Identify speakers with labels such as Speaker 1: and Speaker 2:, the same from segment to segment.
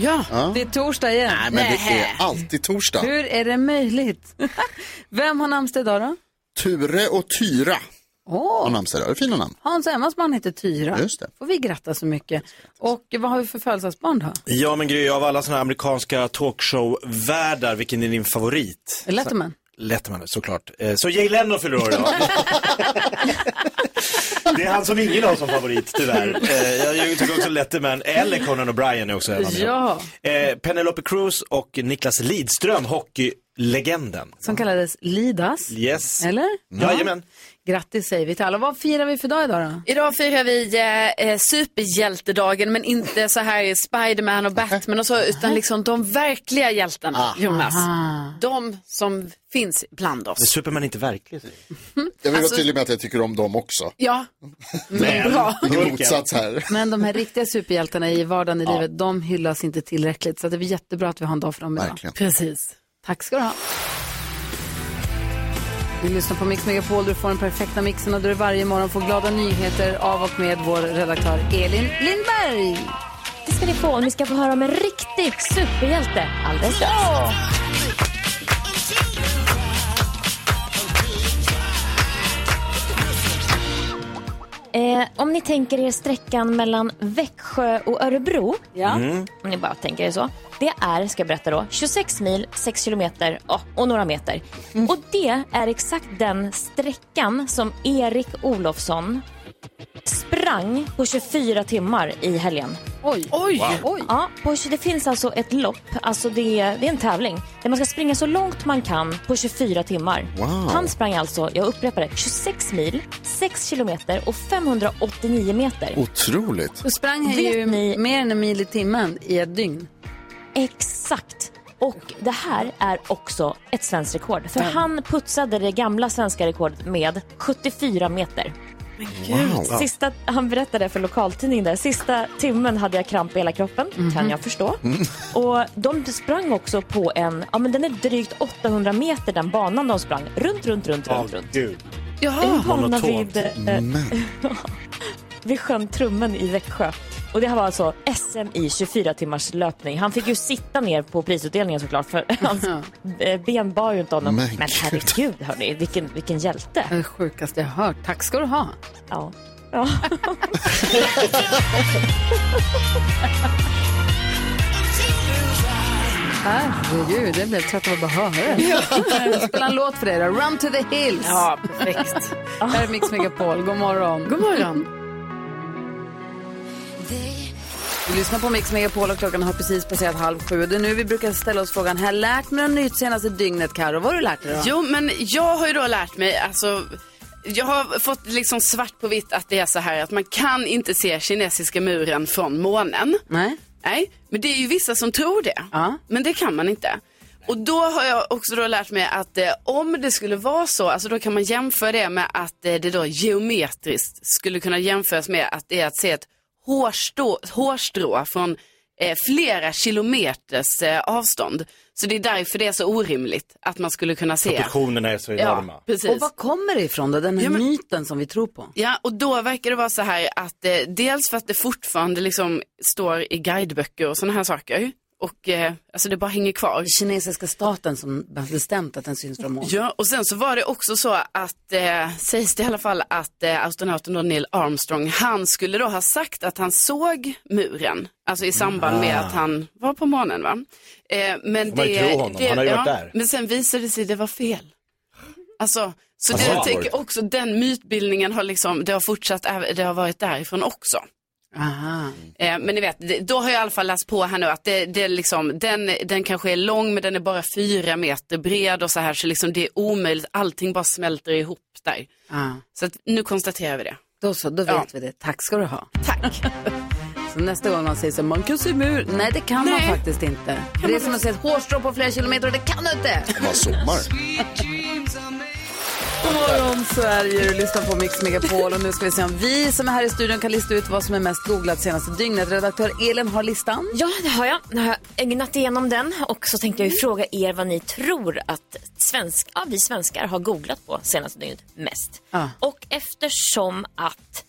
Speaker 1: Ja. Det är torsdag igen.
Speaker 2: Nej, men det är alltid torsdag.
Speaker 1: Hur är det möjligt? Vem har namnsdag idag då?
Speaker 2: Ture och Tyra har
Speaker 1: Åh,
Speaker 2: namnsdag idag. Det är fina namn.
Speaker 1: Hans och Emmas man heter Tyra.
Speaker 2: Just det.
Speaker 1: Får vi gratta så mycket. Och vad har vi för födelsedagsbarn då?
Speaker 3: Ja men Gry, av alla sådana här amerikanska talkshow-värdar, vilken är din favorit?
Speaker 1: Letterman.
Speaker 3: Letterman såklart. Eh, Så Jay Leno fyller år idag. Det är han som ingen har som favorit tyvärr. Eh, Jag tycker också Letterman, eller Conan O'Brien är också en av mina.
Speaker 1: Ja,
Speaker 3: Eh, Penelope Cruz och Niklas Lidström, hockeylegenden.
Speaker 1: som kallades Lidas.
Speaker 3: Yes.
Speaker 1: Eller?
Speaker 3: Jajamän.
Speaker 1: Grattis säger vi till alla. Vad firar vi för dag idag då?
Speaker 4: Idag firar vi eh, eh, superhjältedagen men inte så här Spiderman och Batman och så utan liksom de verkliga hjältarna Jonas. De som finns bland
Speaker 3: Men
Speaker 4: oss.
Speaker 3: Superman är inte verklig. säger jag.
Speaker 2: Jag vill
Speaker 1: Alltså-
Speaker 2: vara tydlig med att jag tycker om dem också.
Speaker 4: Ja,
Speaker 3: Men,
Speaker 4: bra.
Speaker 2: Ingen
Speaker 3: Gurken.
Speaker 2: motsats här.
Speaker 1: Men de här riktiga superhjältarna i vardagen i livet, de hyllas inte tillräckligt. Så det är väl jättebra att vi har en dag för dem idag.
Speaker 2: Verkligen.
Speaker 4: precis.
Speaker 1: Tack ska du ha. Du lyssnar på Mix Megapol, du får den perfekta mixen och du varje morgon får glada nyheter av och med vår redaktör Elin Lindberg.
Speaker 5: Det ska ni få om ni ska få höra om en riktig superhjälte alldeles strax. Eh, om ni tänker er sträckan mellan Växjö och Örebro,
Speaker 1: Ja.
Speaker 5: om ni bara tänker er så. Det är, ska jag berätta då, 26 mil, 6 kilometer ja, och några meter.
Speaker 1: Mm.
Speaker 5: Och det är exakt den sträckan som Erik Olofsson sprang på 24 timmar i helgen.
Speaker 1: Oj. Oj. Oj.
Speaker 5: Ja, på, det finns alltså ett lopp, alltså det, är- det är en tävling där man ska springa så långt man kan på 24 timmar.
Speaker 2: Wow.
Speaker 5: Han sprang alltså, jag upprepar det, 26 mil, 6 kilometer och 589 meter.
Speaker 2: Otroligt.
Speaker 1: Då sprang han
Speaker 5: Vet
Speaker 1: ju
Speaker 5: ni-
Speaker 1: mer än en mil i timmen i ett dygn.
Speaker 5: Exakt. Och det här är också ett svenskt rekord. För han putsade det gamla svenska rekordet med 74 meter.
Speaker 2: Wow.
Speaker 5: Sista, han berättade för lokaltidningen där, sista timmen hade jag kramp i hela kroppen, kan jag förstå. Och de sprang också på en, ja men den är drygt 800 meter den banan de sprang, runt, runt, runt,
Speaker 3: Ja,
Speaker 5: runt, runt.
Speaker 3: gud.
Speaker 5: En bana
Speaker 3: monotont.
Speaker 5: vid, eh, vid sjön Trummen i Växjö. Och det här var alltså SM i 24 timmars löpning. Han fick ju sitta ner på prisutdelningen såklart för hans eh, ben bar ju inte honom.
Speaker 2: Men
Speaker 5: Men,
Speaker 2: gud.
Speaker 5: herregud hörni, vilken, vilken hjälte.
Speaker 1: Det sjukaste jag hört. Tack ska du ha.
Speaker 5: Ja. Ja.
Speaker 1: Herregud, jag blev trött av att bara höra det. Spela en låt för dig då. Run to the hills. Ja, perfekt. Här är Mix Megapol. God morgon. God morgon. Du lyssnar på Mix Megapol och klockan har precis passerat halv sju. Och Det är nu vi brukar ställa oss frågan, har jag lärt mig något nytt senaste dygnet Karo? Vad har du lärt dig då?
Speaker 4: Jo men jag har ju då lärt mig alltså jag har fått liksom svart på vitt att det är så här att man kan inte se kinesiska muren från månen.
Speaker 1: Nej?
Speaker 4: Nej, men det är ju vissa som tror det.
Speaker 1: Ja.
Speaker 4: Men det kan man inte. Och då har jag också då lärt mig att eh, om det skulle vara så, alltså då kan man jämföra det med att eh, det då geometriskt skulle kunna jämföras med att det är att se ett hårstrå, hårstrå från eh, flera kilometers eh, avstånd. Så det är därför det är så orimligt att man skulle kunna se.
Speaker 3: Proportionerna är så enorma.
Speaker 4: Ja, precis.
Speaker 1: Och var kommer det ifrån då, den här
Speaker 4: Ja, men-
Speaker 1: myten som vi tror på?
Speaker 4: Ja, och då verkar det vara så här att eh, dels för att det fortfarande liksom står i guideböcker och sådana här saker. Och eh, alltså det bara hänger kvar.
Speaker 1: Kinesiska staten som har bestämt att den syns från månen.
Speaker 4: Ja, och sen så var det också så att, eh, sägs det i alla fall, att eh, astronauten då Neil Armstrong, han skulle då ha sagt att han såg muren. Alltså i samband med att han var på månen va. Eh, men
Speaker 3: Ah. Får man ju
Speaker 4: det,
Speaker 3: tro honom,
Speaker 4: det,
Speaker 3: han har ju varit där.
Speaker 4: Men sen visade det sig det var fel. Alltså, så det,
Speaker 3: Alltså,
Speaker 4: jag
Speaker 3: det har
Speaker 4: tänker också, den mytbildningen har liksom, det har fortsatt, även- det har varit därifrån också.
Speaker 1: Aha.
Speaker 4: Eh, men ni vet, det- då har jag i alla fall läst på här nu att det, det är liksom, den, den kanske är lång men den är bara fyra meter bred och så här så liksom det är omöjligt, allting bara smälter ihop där.
Speaker 1: Ah.
Speaker 4: Så att, nu konstaterar vi det.
Speaker 1: Då så, då vet
Speaker 4: Ja.
Speaker 1: vi det. Tack ska du ha.
Speaker 4: Tack.
Speaker 1: Så nästa gång någon säger så här, man kan se mur. Nej, det kan man
Speaker 4: Nej.
Speaker 1: faktiskt inte. det är som att se ett hårstrå på flera kilometer och det kan du inte.
Speaker 2: Man zoomar.
Speaker 1: God morgon Sverige, du lyssnar på Mix Megapol och nu ska vi se om vi som är här i studion kan lista ut vad som är mest googlat senaste dygnet. Redaktör Elin har listan.
Speaker 5: Ja, det har jag. Nu har jag ögnat igenom den och så tänkte jag
Speaker 3: Mm.
Speaker 5: ju fråga er vad ni tror att svensk, ja, vi svenskar har googlat på senaste dygnet mest.
Speaker 1: Ja.
Speaker 5: Och eftersom att...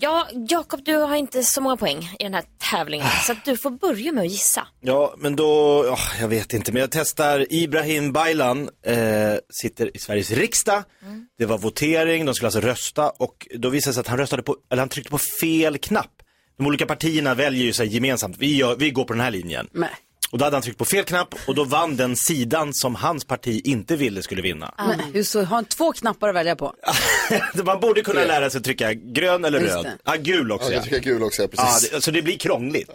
Speaker 5: Ja, Jakob, du har inte så många poäng i den här tävlingen
Speaker 3: Ah.
Speaker 5: så att du får börja med att gissa.
Speaker 3: Ja, men då, ja, jag vet inte, men jag testar Ibrahim Baylan, eh, sitter i Sveriges riksdag. Det var votering, de skulle alltså rösta och då visade det sig att han röstade på, eller han tryckte på fel knapp. De olika partierna väljer ju sig gemensamt, vi, gör, vi går på den här linjen.
Speaker 4: Nej.
Speaker 3: Och då hade han tryckt på fel knapp och då vann den sidan som hans parti inte ville skulle vinna.
Speaker 1: Men hur så, har han två knappar att välja på?
Speaker 3: Man borde kunna lära sig att trycka grön eller
Speaker 1: Ah. Just
Speaker 3: röd.
Speaker 1: det.
Speaker 3: Ja, gul
Speaker 2: Ja,
Speaker 3: också ja.
Speaker 2: jag tycker gul också, ja,
Speaker 3: Ja,
Speaker 2: precis.
Speaker 3: det, så det blir krångligt.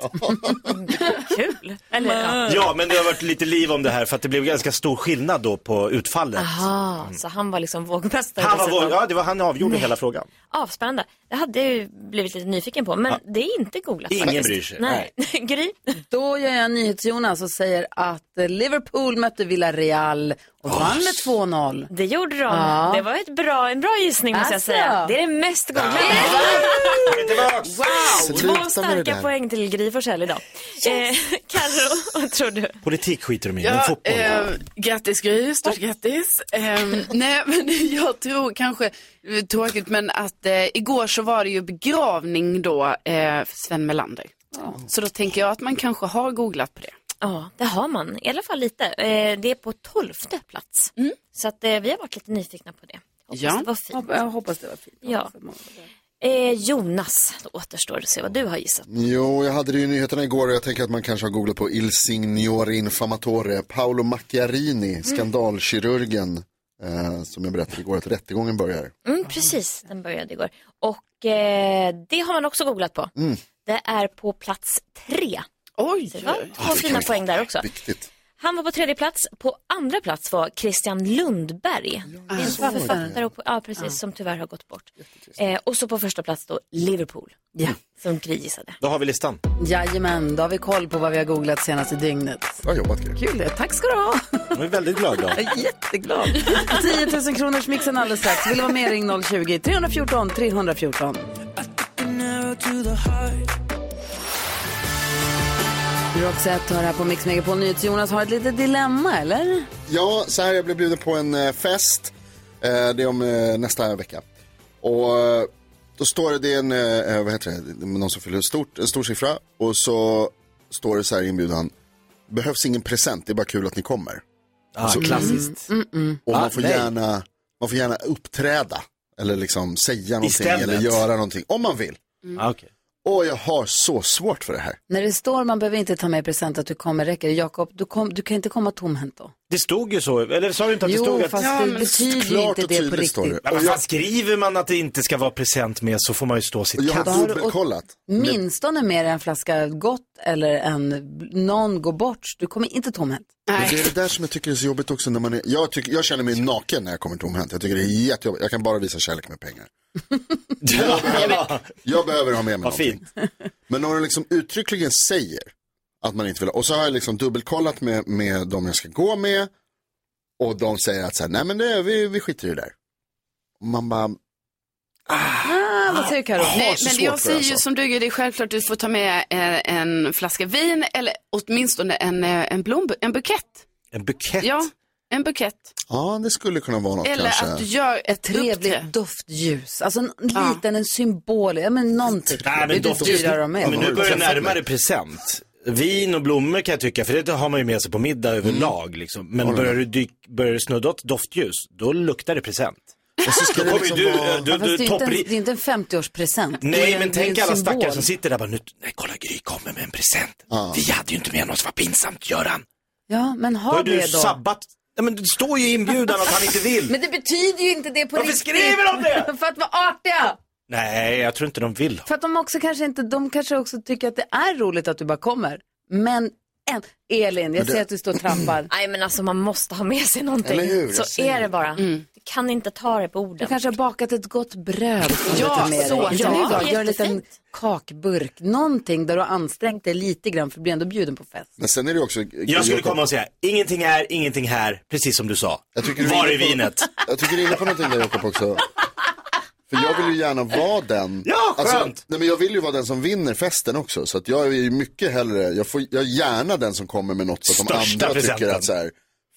Speaker 3: Mm,
Speaker 5: Kul! Eller, ja.
Speaker 3: Ja, men det har varit lite liv om det här för att det blev ganska stor skillnad då på utfallet.
Speaker 5: Aha, så han var liksom vågmästare.
Speaker 3: Han var
Speaker 5: dessutom.
Speaker 3: vår, ja, det var han avgjorde hela frågan.
Speaker 5: Ja, spännande. Det hade jag ju blivit lite nyfiken på, men det är inte googlat
Speaker 3: Ingen
Speaker 5: faktiskt.
Speaker 3: bryr sig.
Speaker 5: Nej. Gry?
Speaker 1: Då gör jag NyhetsJonas och säger att eh, Liverpool mötte Villarreal och vann med 2-0.
Speaker 5: Det gjorde de. Det var ett bra, en bra gissning måste jag
Speaker 1: Alltså.
Speaker 5: säga. Det är det mest googlade. Två
Speaker 2: Sluta med det
Speaker 5: starka
Speaker 2: där.
Speaker 5: poäng till Gry Forssell idag. Eh, Carro, vad tror du?
Speaker 3: Politik skiter de i, men
Speaker 4: Ja,
Speaker 3: fotboll.
Speaker 4: eh, grattis Gry, stort grattis. Ehm, nej, men jag tror kanske, eh, tråkigt, men att eh, igår så var det ju begravning då eh, för Sven Melander. Så då tänker jag att man kanske har googlat på det.
Speaker 5: Ja, det har man. I alla fall lite. Eh, det är på tolfte plats. Så att, eh, vi har varit lite nyfikna på det. Hoppas
Speaker 4: Ja.
Speaker 5: det var fint.
Speaker 1: Hopp- Jag hoppas det var fint.
Speaker 5: Ja. Eh, Jonas, då återstår det att se vad du har gissat.
Speaker 2: Jo, jag hade det i nyheterna igår och jag tänker att man kanske har googlat på Il Signore Infamatore. Paolo
Speaker 1: Mm.
Speaker 2: Macchiarini, skandalkirurgen, eh, som jag berättade igår att rättegången börjar.
Speaker 5: Mm, precis, den började igår. Och eh, det har man också googlat på.
Speaker 2: Mm.
Speaker 5: Det är på plats tre.
Speaker 4: Oj!
Speaker 5: Det var två fina poäng där också.
Speaker 2: Viktigt.
Speaker 5: Han var på tredje plats. På andra plats var Christian Lundberg. Det är en författare och, ja, precis, som tyvärr har gått bort. Eh, och så på första plats då Liverpool,
Speaker 1: Ja.
Speaker 5: som Gry gissade.
Speaker 3: Då har vi listan.
Speaker 1: Jajamän, då har vi koll på vad vi har googlat senaste dygnet.
Speaker 2: Bra jobbat, Gry.
Speaker 1: Kul det, tack ska du ha.
Speaker 3: Jag är väldigt glad idag.
Speaker 1: Jag är jätteglad. 10 000 kronors mixen alldeles strax. Vill du vara med ring 020-314 314. Roxette har här på Mix Megapol Nyhets. Jonas har ett litet dilemma, eller?
Speaker 2: Ja, så här, jag blev bjuden på en eh, fest. Eh, det är om eh, nästa vecka. Och eh, då står det, det är en, eh, vad heter det, Det är någon som fyller stort, en stor siffra. Och så står det så här i inbjudan, behövs ingen present, det är bara kul att ni kommer.
Speaker 3: Ah, klassiskt.
Speaker 2: Och
Speaker 3: Ah,
Speaker 2: man, får
Speaker 3: nej.
Speaker 2: gärna, man får gärna uppträda. Eller liksom säga någonting
Speaker 3: Istället.
Speaker 2: eller göra någonting, om man vill.
Speaker 3: Ah, okej.
Speaker 2: Och jag har så svårt för det här.
Speaker 1: När det står man behöver inte ta med present att du kommer räcker det. Jakob, du, kom, du kan inte komma tomhänt då.
Speaker 3: Det stod ju så, eller sa du inte att det stod
Speaker 1: Jo,
Speaker 3: att...
Speaker 1: fast
Speaker 4: Ja,
Speaker 1: det
Speaker 4: men
Speaker 1: betyder ju
Speaker 2: klart
Speaker 1: inte
Speaker 2: och
Speaker 1: det på
Speaker 2: tydligt står
Speaker 1: riktigt.
Speaker 2: det.
Speaker 3: Men vad fan, skriver man att det inte ska vara present med så får man ju stå
Speaker 2: Och
Speaker 3: sitt
Speaker 2: jag
Speaker 3: kast.
Speaker 2: har
Speaker 1: du-
Speaker 2: dubbelkollat.
Speaker 1: Minstone mer en flaska gott eller en någon går bort. Du kommer inte tomhänt.
Speaker 2: Men det är det där som jag tycker är så jobbigt också. När man är, jag, tycker, jag känner mig naken när jag kommer tomhänt. Jag tycker det är jättejobbigt. Jag kan bara visa kärlek med pengar.
Speaker 3: Ja,
Speaker 2: Jag behöver ha med mig
Speaker 3: Vad
Speaker 2: någonting.
Speaker 3: fint.
Speaker 2: Men om du liksom uttryckligen säger att man inte vill ha. Och så har jag liksom dubbelkollat med, med de jag ska gå med. Och de säger att så här, nej men det, vi, vi skiter i det där. Och man bara,
Speaker 1: Ah, vad säger du Karo?
Speaker 4: Nej,
Speaker 2: så
Speaker 4: men
Speaker 2: svårt
Speaker 4: jag
Speaker 2: för
Speaker 4: säger
Speaker 2: alltså.
Speaker 4: ju som du, Gry, det är självklart du får ta med eh, en flaska vin eller åtminstone en, eh, en, blom, en bukett.
Speaker 3: En bukett.
Speaker 4: Ja, en bukett.
Speaker 2: ja det skulle kunna vara något
Speaker 4: Eller
Speaker 2: kanske.
Speaker 4: att du gör ett
Speaker 1: Trevligt
Speaker 4: trevligt.
Speaker 1: doftljus. Alltså en liten en symbol, ja, men någonting. det
Speaker 3: Nej,
Speaker 1: är
Speaker 3: Ah. men,
Speaker 1: det
Speaker 3: doft,
Speaker 1: dyra de är.
Speaker 3: men nu börjar det närma dig present. Vin och blommor kan jag tycka, för det har man ju med sig på middag
Speaker 1: Mm.
Speaker 3: överlag. Liksom. Men börjar du, dyk, börjar du snudda åt doftljus, då luktar det present.
Speaker 2: Och så ska
Speaker 3: Då
Speaker 2: det
Speaker 3: kommer ju
Speaker 2: liksom
Speaker 3: du, eh,
Speaker 2: vara...
Speaker 3: du,
Speaker 1: Ja, fast
Speaker 3: du,
Speaker 1: det, är inte en,
Speaker 3: toppri-
Speaker 1: det är inte en 50-årspresent. Det
Speaker 3: Nej,
Speaker 1: är
Speaker 3: men
Speaker 1: en-
Speaker 3: tänk
Speaker 1: det är en
Speaker 3: alla
Speaker 1: symbol.
Speaker 3: stackare som sitter där bara, nu, nej kolla Gry kommer med en present. Vi hade ju inte med något, vad pinsamt Göran.
Speaker 1: Ja, men
Speaker 3: Då
Speaker 1: ha
Speaker 3: har du
Speaker 1: det då.
Speaker 3: sabbat, nej men det står ju i inbjudan att han inte vill.
Speaker 1: Men det betyder ju inte det på
Speaker 3: Varför
Speaker 1: riktigt.
Speaker 3: skriver de det?
Speaker 1: för att vara artiga.
Speaker 3: Nej, jag tror inte de vill.
Speaker 1: För att de också kanske inte, de kanske också tycker att det är roligt att du bara kommer. Men en, Elin, jag ser att du står och trampar.
Speaker 5: Nej men alltså man måste ha med sig någonting.
Speaker 2: Eller hur? Jag
Speaker 5: Så
Speaker 2: säger
Speaker 5: är det bara. Det kan inte ta det på orden.
Speaker 1: Du kanske har bakat ett gott bröd som
Speaker 5: Ja,
Speaker 1: du tar med
Speaker 5: så
Speaker 1: dig.
Speaker 5: kan det
Speaker 1: Ja,
Speaker 5: vara.
Speaker 1: gör en liten
Speaker 5: Jättefint.
Speaker 1: kakburk, någonting där du har ansträngt dig lite grann för att bli ändå bjuden på fest.
Speaker 2: Men sen är det ju också...
Speaker 3: Jag skulle komma och säga, ingenting här, ingenting här, precis som du sa.
Speaker 2: du
Speaker 3: Var
Speaker 2: är
Speaker 3: är
Speaker 2: inne på-
Speaker 3: vinet?
Speaker 2: Jag tycker du är inne på någonting där Jakob också. För jag vill ju gärna vara den.
Speaker 3: Ja,
Speaker 2: Alltså,
Speaker 3: skönt.
Speaker 2: nej, men jag vill ju vara den som vinner festen också. Så att jag är ju mycket hellre, jag, får, jag är gärna den som kommer med något så att de
Speaker 3: Största
Speaker 2: andra tycker
Speaker 3: presenten.
Speaker 2: att så här,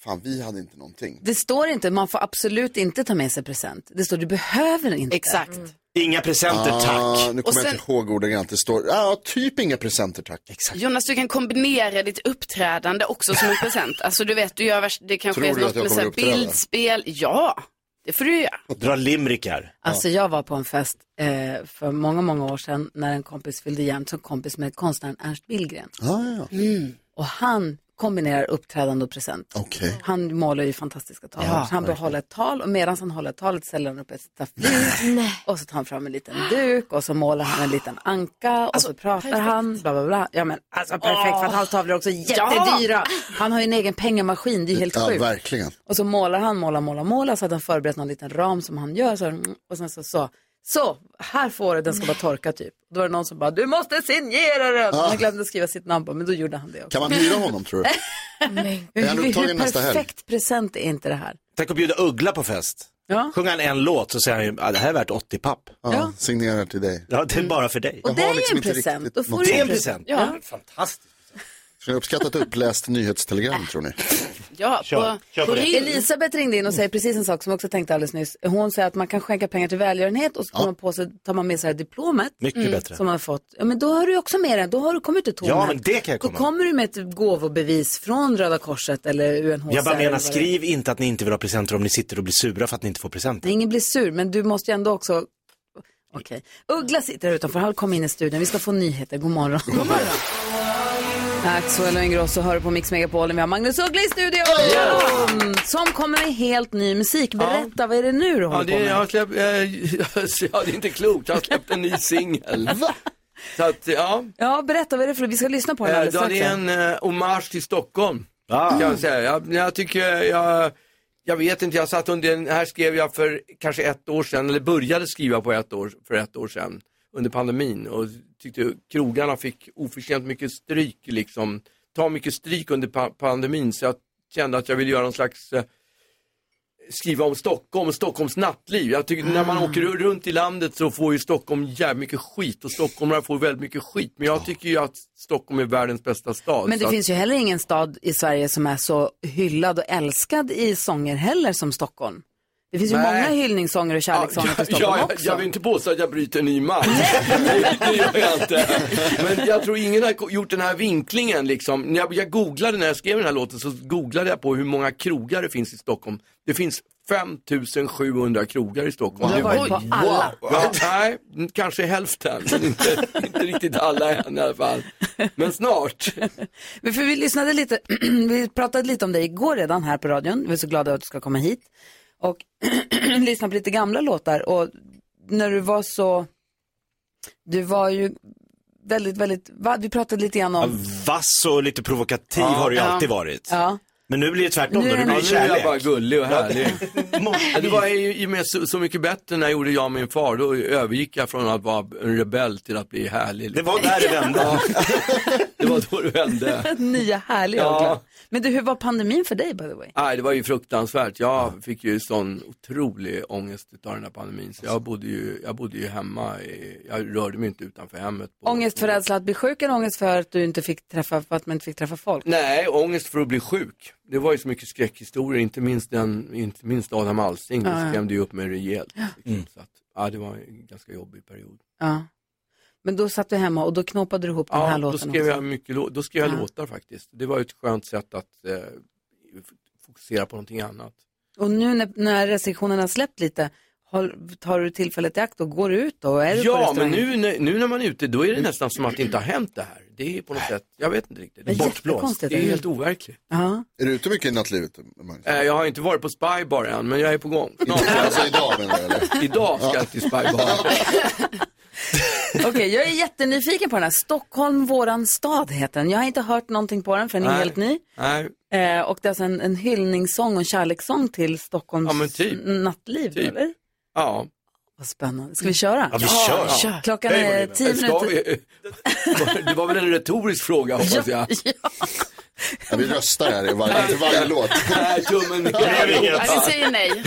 Speaker 2: fan vi hade inte någonting.
Speaker 1: Det står inte, man får absolut inte ta med sig present. Det står, du behöver inte. Mm.
Speaker 4: Exakt.
Speaker 3: Inga presenter,
Speaker 2: Ah,
Speaker 3: tack.
Speaker 2: nu kommer
Speaker 4: Och
Speaker 2: jag
Speaker 4: sen-
Speaker 2: inte ihåg ordagrant, det står, ja ah, typ inga presenter tack. Exakt.
Speaker 4: Jonas, du kan kombinera ditt uppträdande också som en present. Alltså du vet, du gör värst, det kanske
Speaker 2: Tror
Speaker 4: är
Speaker 2: du att
Speaker 4: något
Speaker 2: jag
Speaker 4: med så
Speaker 2: kommer
Speaker 4: här
Speaker 2: uppträda?
Speaker 4: bildspel. Ja, det får du göra.
Speaker 3: Dra limrikar.
Speaker 1: Alltså jag var på en fest eh, för många, många år sedan när en kompis fyllde jämnt som kompis med konstnären Ernst Billgren.
Speaker 2: Ah, ja.
Speaker 1: Och han kombinerar uppträdande och present.
Speaker 2: Okej.
Speaker 1: Han målar ju fantastiska tal. så han börjar hålla ett tal och medan han håller talet ställer han upp ett staffli och så tar han fram en liten duk och så målar han en liten anka och så pratar han. Bla, bla, bla. Ja men alltså perfekt för att hans tavlor är också jättedyra. Han har ju en egen pengamaskin, det är ju helt
Speaker 2: Ja,
Speaker 1: sjukt.
Speaker 2: verkligen.
Speaker 1: Och så målar han, målar, målar, målar så hade han förberett någon liten ram som han gör. Så här, mm, och sen så sa så, här får du, den ska bara torka typ. Då var det någon som bara, du måste signera den.
Speaker 2: Ah.
Speaker 1: Han glömde skriva sitt namn på, men då gjorde han det också.
Speaker 2: Kan man hyra honom tror du?
Speaker 5: Mm.
Speaker 2: Är han
Speaker 1: Hur-
Speaker 2: upptagen
Speaker 1: Hur
Speaker 2: nästa helg?
Speaker 1: perfekt present är inte det här?
Speaker 3: Tänk att bjuda Uggla på fest.
Speaker 1: Ja.
Speaker 3: Sjunger han en låt så säger han ju, ah, det här är värt 80 papp.
Speaker 2: Ja, signerar till dig.
Speaker 3: Ja, det är bara för dig.
Speaker 1: Och det
Speaker 2: har
Speaker 1: är ju
Speaker 2: liksom
Speaker 1: en
Speaker 2: inte
Speaker 1: present.
Speaker 2: riktigt
Speaker 1: Då får
Speaker 2: något-
Speaker 1: du
Speaker 3: Det är en present.
Speaker 1: Ja.
Speaker 3: Fantastiskt.
Speaker 2: Skulle jag uppskatta ett uppläst nyhetstelegram tror ni?
Speaker 4: Ja,
Speaker 3: Kör,
Speaker 4: på,
Speaker 3: kör på det.
Speaker 1: Elisabeth ringde in och säger precis en sak som jag också tänkte alldeles nyss. Hon säger att man kan skänka pengar till välgörenhet och så tar man, på sig, tar man med sig det här diplomet.
Speaker 3: Mycket bättre.
Speaker 1: Som man har fått. Ja, men då har du också med den. Då har du kommit ut tom
Speaker 3: Ja,
Speaker 1: här.
Speaker 3: men det kan jag
Speaker 1: Då
Speaker 3: komma.
Speaker 1: kommer du med ett gåvobevis från Röda Korset eller UNHCR.
Speaker 3: Jag bara
Speaker 1: eller
Speaker 3: menar,
Speaker 1: vad det är.
Speaker 3: skriv inte att ni inte vill ha presenter om ni sitter och blir sura för att ni inte får presenter.
Speaker 1: Ingen blir sur, men du måste ju ändå också... Okej. Uggla sitter här utanför. Han kommer in i studion. Vi ska få nyheter. God morgon. God morgon. Axel och Ingrosso hör på Mix Megapol. Vi har Magnus Uggla i studion. Mm, Som kommer med helt ny musik. Berätta, vad är det nu du håller
Speaker 6: Ja, det, jag
Speaker 1: på
Speaker 6: har släppt, eh, ja, det är inte klokt, jag har släppt en ny singel. Så att, ja.
Speaker 1: med? Ja, berätta vad är det för Vi ska lyssna på den
Speaker 6: Eh,
Speaker 1: alldeles
Speaker 6: då
Speaker 1: strax.
Speaker 6: det är en eh, hommage till Stockholm.
Speaker 3: Ah.
Speaker 6: Kan jag, säga. Jag, jag tycker, jag, jag vet inte, jag satt under, den här skrev jag för kanske ett år sedan, eller började skriva på ett år, för ett år sedan under pandemin och tyckte krogarna fick oförtjänt mycket stryk liksom, ta mycket stryk under pa- pandemin så jag kände att jag ville göra någon slags eh, skriva om Stockholm och Stockholms nattliv. Jag tycker när man åker runt i landet så får ju Stockholm jävligt mycket skit och stockholmarna får väldigt mycket skit. Men jag tycker ju att Stockholm är världens bästa stad.
Speaker 1: Men det
Speaker 6: så
Speaker 1: finns ju heller ingen stad i Sverige som är så hyllad och älskad i sånger heller som Stockholm. Det finns ju
Speaker 6: Nej.
Speaker 1: många hyllningssånger och
Speaker 6: Ja,
Speaker 1: kärlekssånger till
Speaker 6: ja,
Speaker 1: Stockholm
Speaker 6: jag,
Speaker 1: också.
Speaker 6: jag vill inte påstå att jag bryter ny mark. Nej, det gör jag inte. eh, Men jag tror ingen har ko- gjort den här vinklingen liksom. När jag, jag googlade när jag skrev den här låten så googlade jag på hur många krogar det finns i Stockholm. Det finns 5700 krogar i Stockholm.
Speaker 1: Du har
Speaker 6: Det-
Speaker 1: varit på alla.
Speaker 6: Ja, nej, m, kanske hälften, men inte, inte riktigt alla än i alla fall. Men snart.
Speaker 1: Men för vi lyssnade lite, vi pratade lite om dig igår redan här på radion. Vi är så glada att du ska komma hit. Och lyssnade på lite gamla låtar. Och när du var så, du var ju väldigt, väldigt, va? vi pratade lite grann om,
Speaker 3: Vass och lite provokativ har du ju alltid varit.
Speaker 1: ja.
Speaker 3: Men nu blir det tvärtom
Speaker 1: Nu är det
Speaker 3: då, nu
Speaker 6: Ja,
Speaker 3: blir det
Speaker 6: nu är jag
Speaker 3: kärlek.
Speaker 6: bara gullig och härlig.
Speaker 3: Mot-
Speaker 6: Ja, Det var ju i och med så, så mycket bättre när jag gjorde jag och min far. Då övergick jag från att vara en rebell till att bli härlig.
Speaker 3: Det var där det vände.
Speaker 6: det var då det vände.
Speaker 1: nya härliga
Speaker 6: Ja. Ah.
Speaker 1: Uggla. Men du, hur var pandemin för dig by the way?
Speaker 6: Nej, det var ju fruktansvärt. Jag fick ju sån otrolig ångest utav den här pandemin. Så jag bodde ju, jag bodde ju hemma. I, jag rörde mig inte utanför hemmet. på-
Speaker 1: Ångest för rädsla att bli sjuk eller ångest för att du inte fick träffa, för att man inte fick träffa folk?
Speaker 6: Nej, ångest för att bli sjuk. Det var ju så mycket skräckhistorier, inte minst, den, inte minst Adam Alsing. Det skrämde ju upp mig rejält. Liksom. Så att, ja, det var en ganska jobbig period.
Speaker 1: Ja. Men då satt du hemma och då knåpade du ihop den här
Speaker 6: Ja, då
Speaker 1: låten
Speaker 6: skrev
Speaker 1: också.
Speaker 6: jag, mycket, lå- då skrev jag
Speaker 1: Ja.
Speaker 6: låtar faktiskt. Det var ju ett skönt sätt att eh, f- fokusera på någonting annat.
Speaker 1: Och nu när, när restriktionerna har släppt lite, håll- tar du tillfället i akt och går ut då? Är du på
Speaker 6: Ja, men
Speaker 1: restaurang?
Speaker 6: nu, när- nu när man är ute, då är det nästan som att det inte har hänt det här. Det är på något sätt, jag vet inte riktigt.
Speaker 1: Det är
Speaker 6: bortblåst.
Speaker 1: jättekonstigt,
Speaker 6: Det är
Speaker 1: eller?
Speaker 6: helt overkligt.
Speaker 1: Ja.
Speaker 2: Är du ute mycket i nattlivet? Magnus?
Speaker 6: Eh, jag har inte varit på Spybar än, men jag är på gång. Snart,
Speaker 2: Alltså idag menar jag eller?
Speaker 6: idag ska jag till Spybar.
Speaker 1: Okej, jag är jättenyfiken på den här. Stockholm, våran stad heter den. Jag har inte hört någonting på den för den är
Speaker 6: Nej.
Speaker 1: helt ny.
Speaker 6: Nej.
Speaker 1: Eh, Eh, och det är alltså en, en hyllningssång och en kärlekssång till Stockholms
Speaker 6: Ja, men typ.
Speaker 1: nattliv,
Speaker 6: Typ.
Speaker 1: eller?
Speaker 6: Ja.
Speaker 1: Vad spännande. Ska vi köra?
Speaker 6: Ja, vi kör.
Speaker 1: Klockan
Speaker 6: Hej,
Speaker 1: är
Speaker 6: Malena.
Speaker 1: tio
Speaker 6: Ska
Speaker 1: minuter.
Speaker 6: vi- Det var väl en retorisk fråga hoppas jag.
Speaker 2: Ja, vi röstar här i varje, till varje låt.
Speaker 6: Nej, tummen
Speaker 3: blev inget.
Speaker 4: Ja, vi säger nej.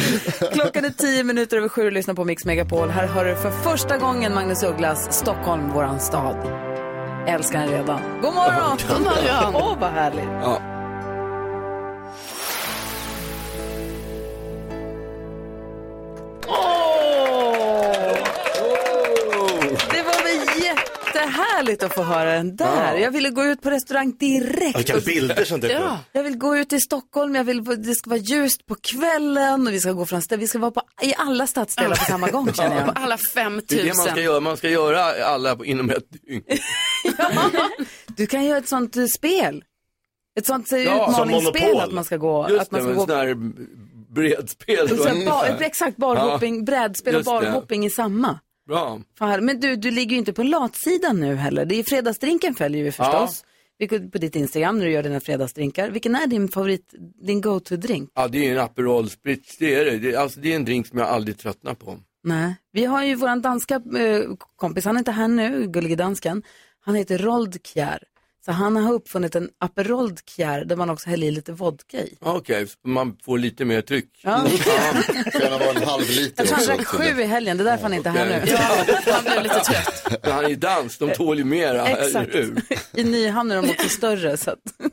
Speaker 1: Klockan är tio minuter över sju och lyssnar på Mix Megapol. Här hör du för första gången Magnus Ugglas, Stockholm, våran stad. Älskar den redan. God morgon! God morgon! Åh, vad härligt.
Speaker 6: Ja.
Speaker 1: Det var väl jättehärligt att få höra den där. Jag ville gå ut på restaurang direkt.
Speaker 3: Vilka bilder som dök upp.
Speaker 4: Ja.
Speaker 1: Jag vill gå ut i Stockholm, jag vill, det ska vara ljust på kvällen och vi ska gå från städer. Vi ska vara på, i alla stadsdelar på samma gång känner jag.
Speaker 4: På alla 5
Speaker 6: Det är det man ska
Speaker 4: 000.
Speaker 6: göra. Man ska göra alla på- inom ett dygn.
Speaker 1: Du kan göra ett sånt eh, spel. Ett sånt eh,
Speaker 6: Ja, som
Speaker 1: utmaningsspel
Speaker 3: Monopol.
Speaker 1: att man ska gå.
Speaker 6: Just
Speaker 1: att man
Speaker 6: det,
Speaker 1: ska
Speaker 6: men
Speaker 1: gå
Speaker 6: sån här bredspel.
Speaker 1: och sen
Speaker 6: Ungefär.
Speaker 1: bar, exakt barhopping, brädspel och
Speaker 6: Just det.
Speaker 1: barhopping i samma.
Speaker 6: Bra.
Speaker 1: Fan, men du, du ligger ju inte på latsidan nu heller. Det är fredagsdrinken följer vi förstås. Vilket, på ditt Instagram när du gör dina fredagsdrinkar. Vilken är din favorit, din go-to-drink?
Speaker 6: Ja, det är ju en Aperol Spritz, det är det. det. Alltså det är en drink som jag aldrig tröttnar på.
Speaker 1: Nej, vi har ju våran danska eh, kompis, han är inte här nu, gullige dansken. Han heter Rold Kjær. Så han har uppfunnit en Aperold Kjær där man också häller i lite vodka i.
Speaker 6: Ja, Okej, så man får lite mer tryck.
Speaker 1: Ja.
Speaker 2: Det får gärna vara en halv liter
Speaker 1: Jag tror han
Speaker 2: också.
Speaker 1: drack sju i helgen, det är därför han inte är här nu.
Speaker 6: Okej.
Speaker 4: Man blir lite trött.
Speaker 6: Men han är ju dans, de tål ju mera,
Speaker 1: Exakt.
Speaker 6: eller hur?
Speaker 1: I Nyhamn är de också större. Så att.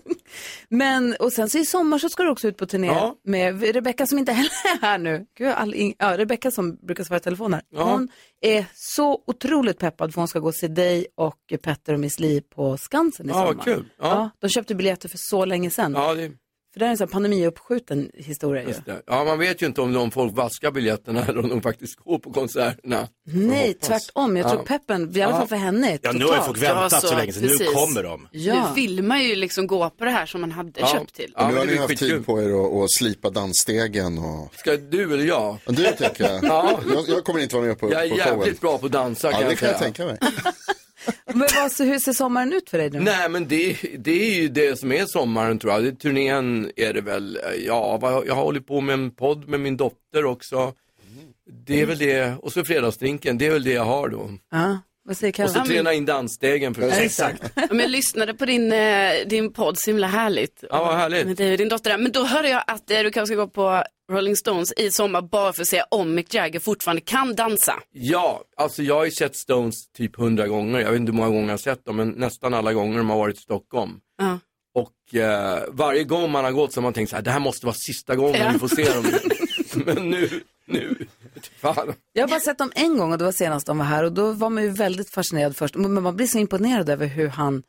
Speaker 1: Men, och sen så i sommar så ska du också ut på turné
Speaker 6: Ja.
Speaker 1: med Rebecca som inte heller är här nu. Gud, jag har all in... ja, Rebecca som brukar svara i telefon här.
Speaker 6: Ja.
Speaker 1: Hon är så otroligt peppad för hon ska gå och se dig och Petter och Miss Li på Skansen i
Speaker 6: Ja,
Speaker 1: sommar.
Speaker 6: vad kul.
Speaker 1: Ja.
Speaker 6: Ja,
Speaker 1: de köpte biljetter för så länge sedan.
Speaker 6: ja, det,
Speaker 1: För det här är en sån här pandemiuppskjuten historia ju.
Speaker 6: just det. ja, man vet ju inte om de folk vaskar biljetterna eller om de faktiskt går på konserterna.
Speaker 1: Nej, tvärtom. Jag tror
Speaker 6: Ja.
Speaker 1: peppen, i alla fall för henne, är
Speaker 3: Ja, nu
Speaker 1: total.
Speaker 3: har ju folk väntat
Speaker 4: Ja, så,
Speaker 3: så länge, så nu
Speaker 4: precis.
Speaker 3: kommer de.
Speaker 1: Ja.
Speaker 4: Nu vill man ju liksom gå på det här som man hade köpt till.
Speaker 6: Ja,
Speaker 2: Nu har
Speaker 6: men det
Speaker 2: ni
Speaker 6: är
Speaker 2: haft
Speaker 6: skitkul.
Speaker 2: tid på er att, att slipa dansstegen och...
Speaker 6: Ska du eller jag?
Speaker 2: Men du tycker jag.
Speaker 6: Ja.
Speaker 2: jag. Jag kommer inte vara med på,
Speaker 6: Jag är
Speaker 2: på showen.
Speaker 6: jävligt bra på att dansa
Speaker 2: Ja,
Speaker 6: kan
Speaker 2: det
Speaker 6: jag
Speaker 2: kan jag
Speaker 6: säga.
Speaker 2: tänka mig.
Speaker 1: Men vad, så hur ser sommaren ut för dig nu?
Speaker 6: Nej men det, det är ju det som är sommaren tror jag. Det, turnén är det väl, ja vad, jag har hållit på med en podd med min dotter också. Det är väl det, och så fredagsdrinken, det är väl det jag har då.
Speaker 1: Ja, vad säger
Speaker 6: Och
Speaker 1: Carro?
Speaker 6: så träna in dansstegen förstås. Exakt.
Speaker 4: Men jag lyssnade på din, eh, din podd, så himla härligt.
Speaker 6: Ja, vad härligt.
Speaker 4: Med dig och din dotter där. Men då hörde jag att eh, du kanske ska gå på Rolling Stones i sommar bara för att se om Mick Jagger fortfarande kan dansa.
Speaker 6: Ja, alltså jag har ju sett Stones typ hundra gånger. Jag vet inte hur många gånger jag har sett dem, men nästan alla gånger de har varit i Stockholm.
Speaker 4: Ja.
Speaker 6: Och eh, varje gång man har gått så har man tänkt så här, det här måste vara sista gången
Speaker 4: Ja.
Speaker 6: vi får se dem. men nu, nu, fan.
Speaker 1: Jag har bara sett dem en gång och det var senast de var här och då var man ju väldigt fascinerad först. Men man blir så imponerad över hur han,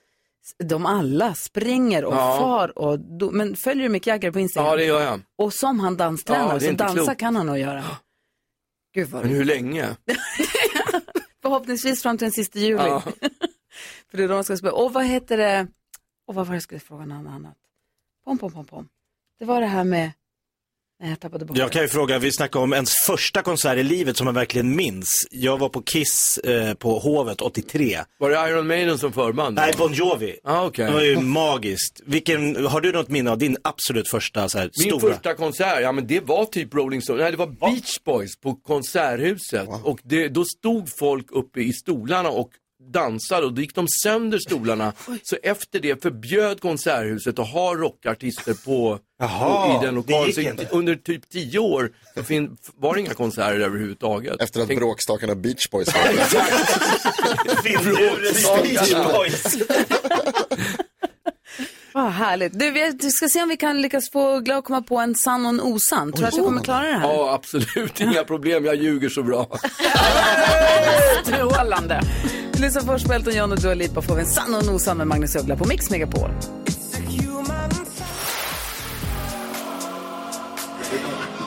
Speaker 1: de alla springer och
Speaker 6: Ja.
Speaker 1: far och, do, men följer du Mick Jagger på Instagram?
Speaker 6: Ja, det gör jag.
Speaker 1: Och som han danstränar,
Speaker 6: Ja, det är
Speaker 1: så
Speaker 6: inte
Speaker 1: dansa
Speaker 6: klokt.
Speaker 1: kan han nog göra. Gud vad
Speaker 6: Men
Speaker 1: roligt.
Speaker 6: hur länge?
Speaker 1: Förhoppningsvis fram till den sista juli.
Speaker 6: Ja.
Speaker 1: För det är då de ska spela. Och vad heter det, och vad var det jag skulle fråga något annat? Pom, pom, pom, pom. Det var det här med, nej jag tappade bort
Speaker 3: Jag
Speaker 1: det.
Speaker 3: kan ju fråga, vi snackar om ens första konsert i livet som man verkligen minns. Jag var på Kiss eh, på Hovet 83.
Speaker 6: Var det Iron Maiden som förband?
Speaker 3: Nej, Bon Jovi.
Speaker 6: Ah, okej.
Speaker 3: Det var ju magiskt. Vilken, har du något minne av din absolut första så här,
Speaker 6: Min
Speaker 3: stora?
Speaker 6: första konsert, ja men det var typ Rolling Stones, nej det var Beach Boys på Konserthuset och det, då stod folk uppe i stolarna och dansade och då gick de sönder stolarna. så efter det förbjöd Konserthuset att ha rockartister på,
Speaker 3: Jaha,
Speaker 6: på i den
Speaker 3: det
Speaker 6: lokalen.
Speaker 3: gick
Speaker 6: Så
Speaker 3: inte.
Speaker 6: under typ tio år så fin, var det inga konserter överhuvudtaget.
Speaker 2: Efter att
Speaker 6: Tänk-
Speaker 2: bråkstakarna Beach Boys var
Speaker 3: Filmdjurens Beach Boys.
Speaker 1: Vad härligt. Du, vi vi ska se om vi kan lyckas få Glau att komma på en sann och en osann. Tror du att du kommer klara det här?
Speaker 6: Ja absolut, inga problem, jag ljuger så bra.
Speaker 4: Strålande.
Speaker 1: Lyssna först på Elton John och Dua Lipa får vi en sann och en osann med Magnus Uggla på Mix Megapol.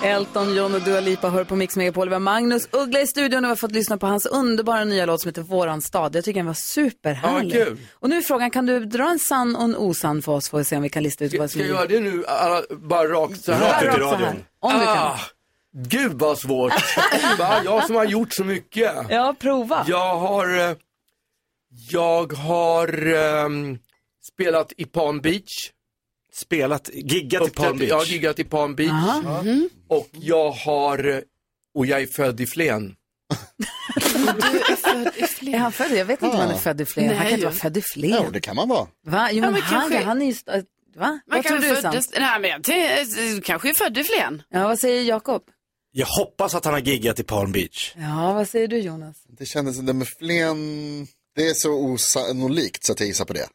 Speaker 1: Elton John och Dua Lipa hör på Mix Megapol. Vi har Magnus Uggla i studion och vi har fått lyssna på hans underbara nya låt som heter Våran stad. Jag tycker den var superhärlig.
Speaker 6: Ja, kul.
Speaker 1: och nu är frågan, kan du dra en sann och en osann för oss för att se om vi kan lista ut vad
Speaker 6: Ska
Speaker 1: som är...
Speaker 6: jag göra det nu, alla, bara rakt så här?
Speaker 3: Rakt ut i
Speaker 1: så här,
Speaker 3: radion.
Speaker 1: om du
Speaker 6: Ah.
Speaker 1: kan.
Speaker 6: gud vad svårt. Va? Jag som har gjort så mycket.
Speaker 1: Ja, prova.
Speaker 6: Jag har, eh, jag har ehm, spelat i Palm Beach
Speaker 3: Spelat, giggat i
Speaker 6: Upptäckte-
Speaker 3: Palm Beach.
Speaker 6: Jag har giggat i Palm Beach.
Speaker 1: Aha.
Speaker 6: Och jag har, och jag är född i Flen.
Speaker 1: Är han född? Jag vet inte om han är född i Flen. Han
Speaker 4: Nej.
Speaker 1: kan inte vara född i
Speaker 2: Jo,
Speaker 1: Flen.
Speaker 2: det kan man vara.
Speaker 1: Va? Jo,
Speaker 4: Ja,
Speaker 1: men
Speaker 4: men
Speaker 1: han,
Speaker 4: kanske-
Speaker 1: han är ju... st- äh, Va?
Speaker 4: Man
Speaker 1: Vad tror
Speaker 4: kan
Speaker 1: du är sant?
Speaker 4: föddes, nej men jag tänkte- eh, kanske är född i Flen.
Speaker 1: Ja, vad säger Jakob?
Speaker 3: Jag hoppas att han har giggat i Palm Beach.
Speaker 1: Ja, vad säger du Jonas?
Speaker 2: Det kändes, det med Flen, det är så osannolikt så att jag gissar på det.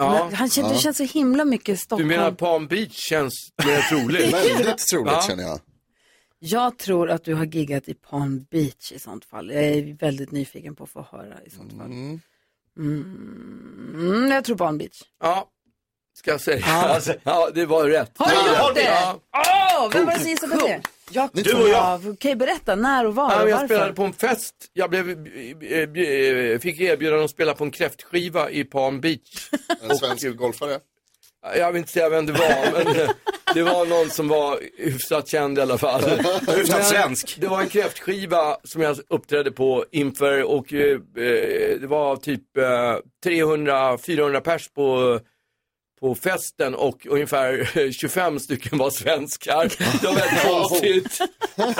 Speaker 6: Ja.
Speaker 1: Men Han känner, Du känns så himla mycket i
Speaker 6: Du
Speaker 1: Stockholm.
Speaker 6: menar Palm Beach känns mer troligt?
Speaker 2: Väldigt troligt
Speaker 6: Ja.
Speaker 2: känner jag.
Speaker 1: Jag tror att du har giggat i Palm Beach i sånt fall. Jag är väldigt nyfiken på att få höra i sånt fall. Mm. Mm, jag tror Palm Beach.
Speaker 6: Ja, ska jag säga. Alltså, ja, det var rätt.
Speaker 1: Har du
Speaker 6: Ja,
Speaker 1: gjort det?
Speaker 6: Ja.
Speaker 1: Åh, vem var det som gissade på det? Jag,
Speaker 2: Du och
Speaker 1: jag. Okej, berätta. När och var
Speaker 6: Ja, men
Speaker 1: och
Speaker 6: jag
Speaker 1: varför?
Speaker 6: spelade på en fest. Jag blev, eh, eh, fick erbjudande att spela på en kräftskiva i Palm Beach.
Speaker 2: En svensk golfare.
Speaker 6: Jag vill inte säga vem det var, men eh, det var någon som var hyfsat känd i alla fall.
Speaker 3: Hyfsat
Speaker 6: Men
Speaker 3: svensk.
Speaker 6: Det var en kräftskiva som jag uppträdde på inför och eh, eh, det var typ eh, 300-400 pers på på festen och ungefär 25 stycken var svenskar. Det var väldigt konstigt.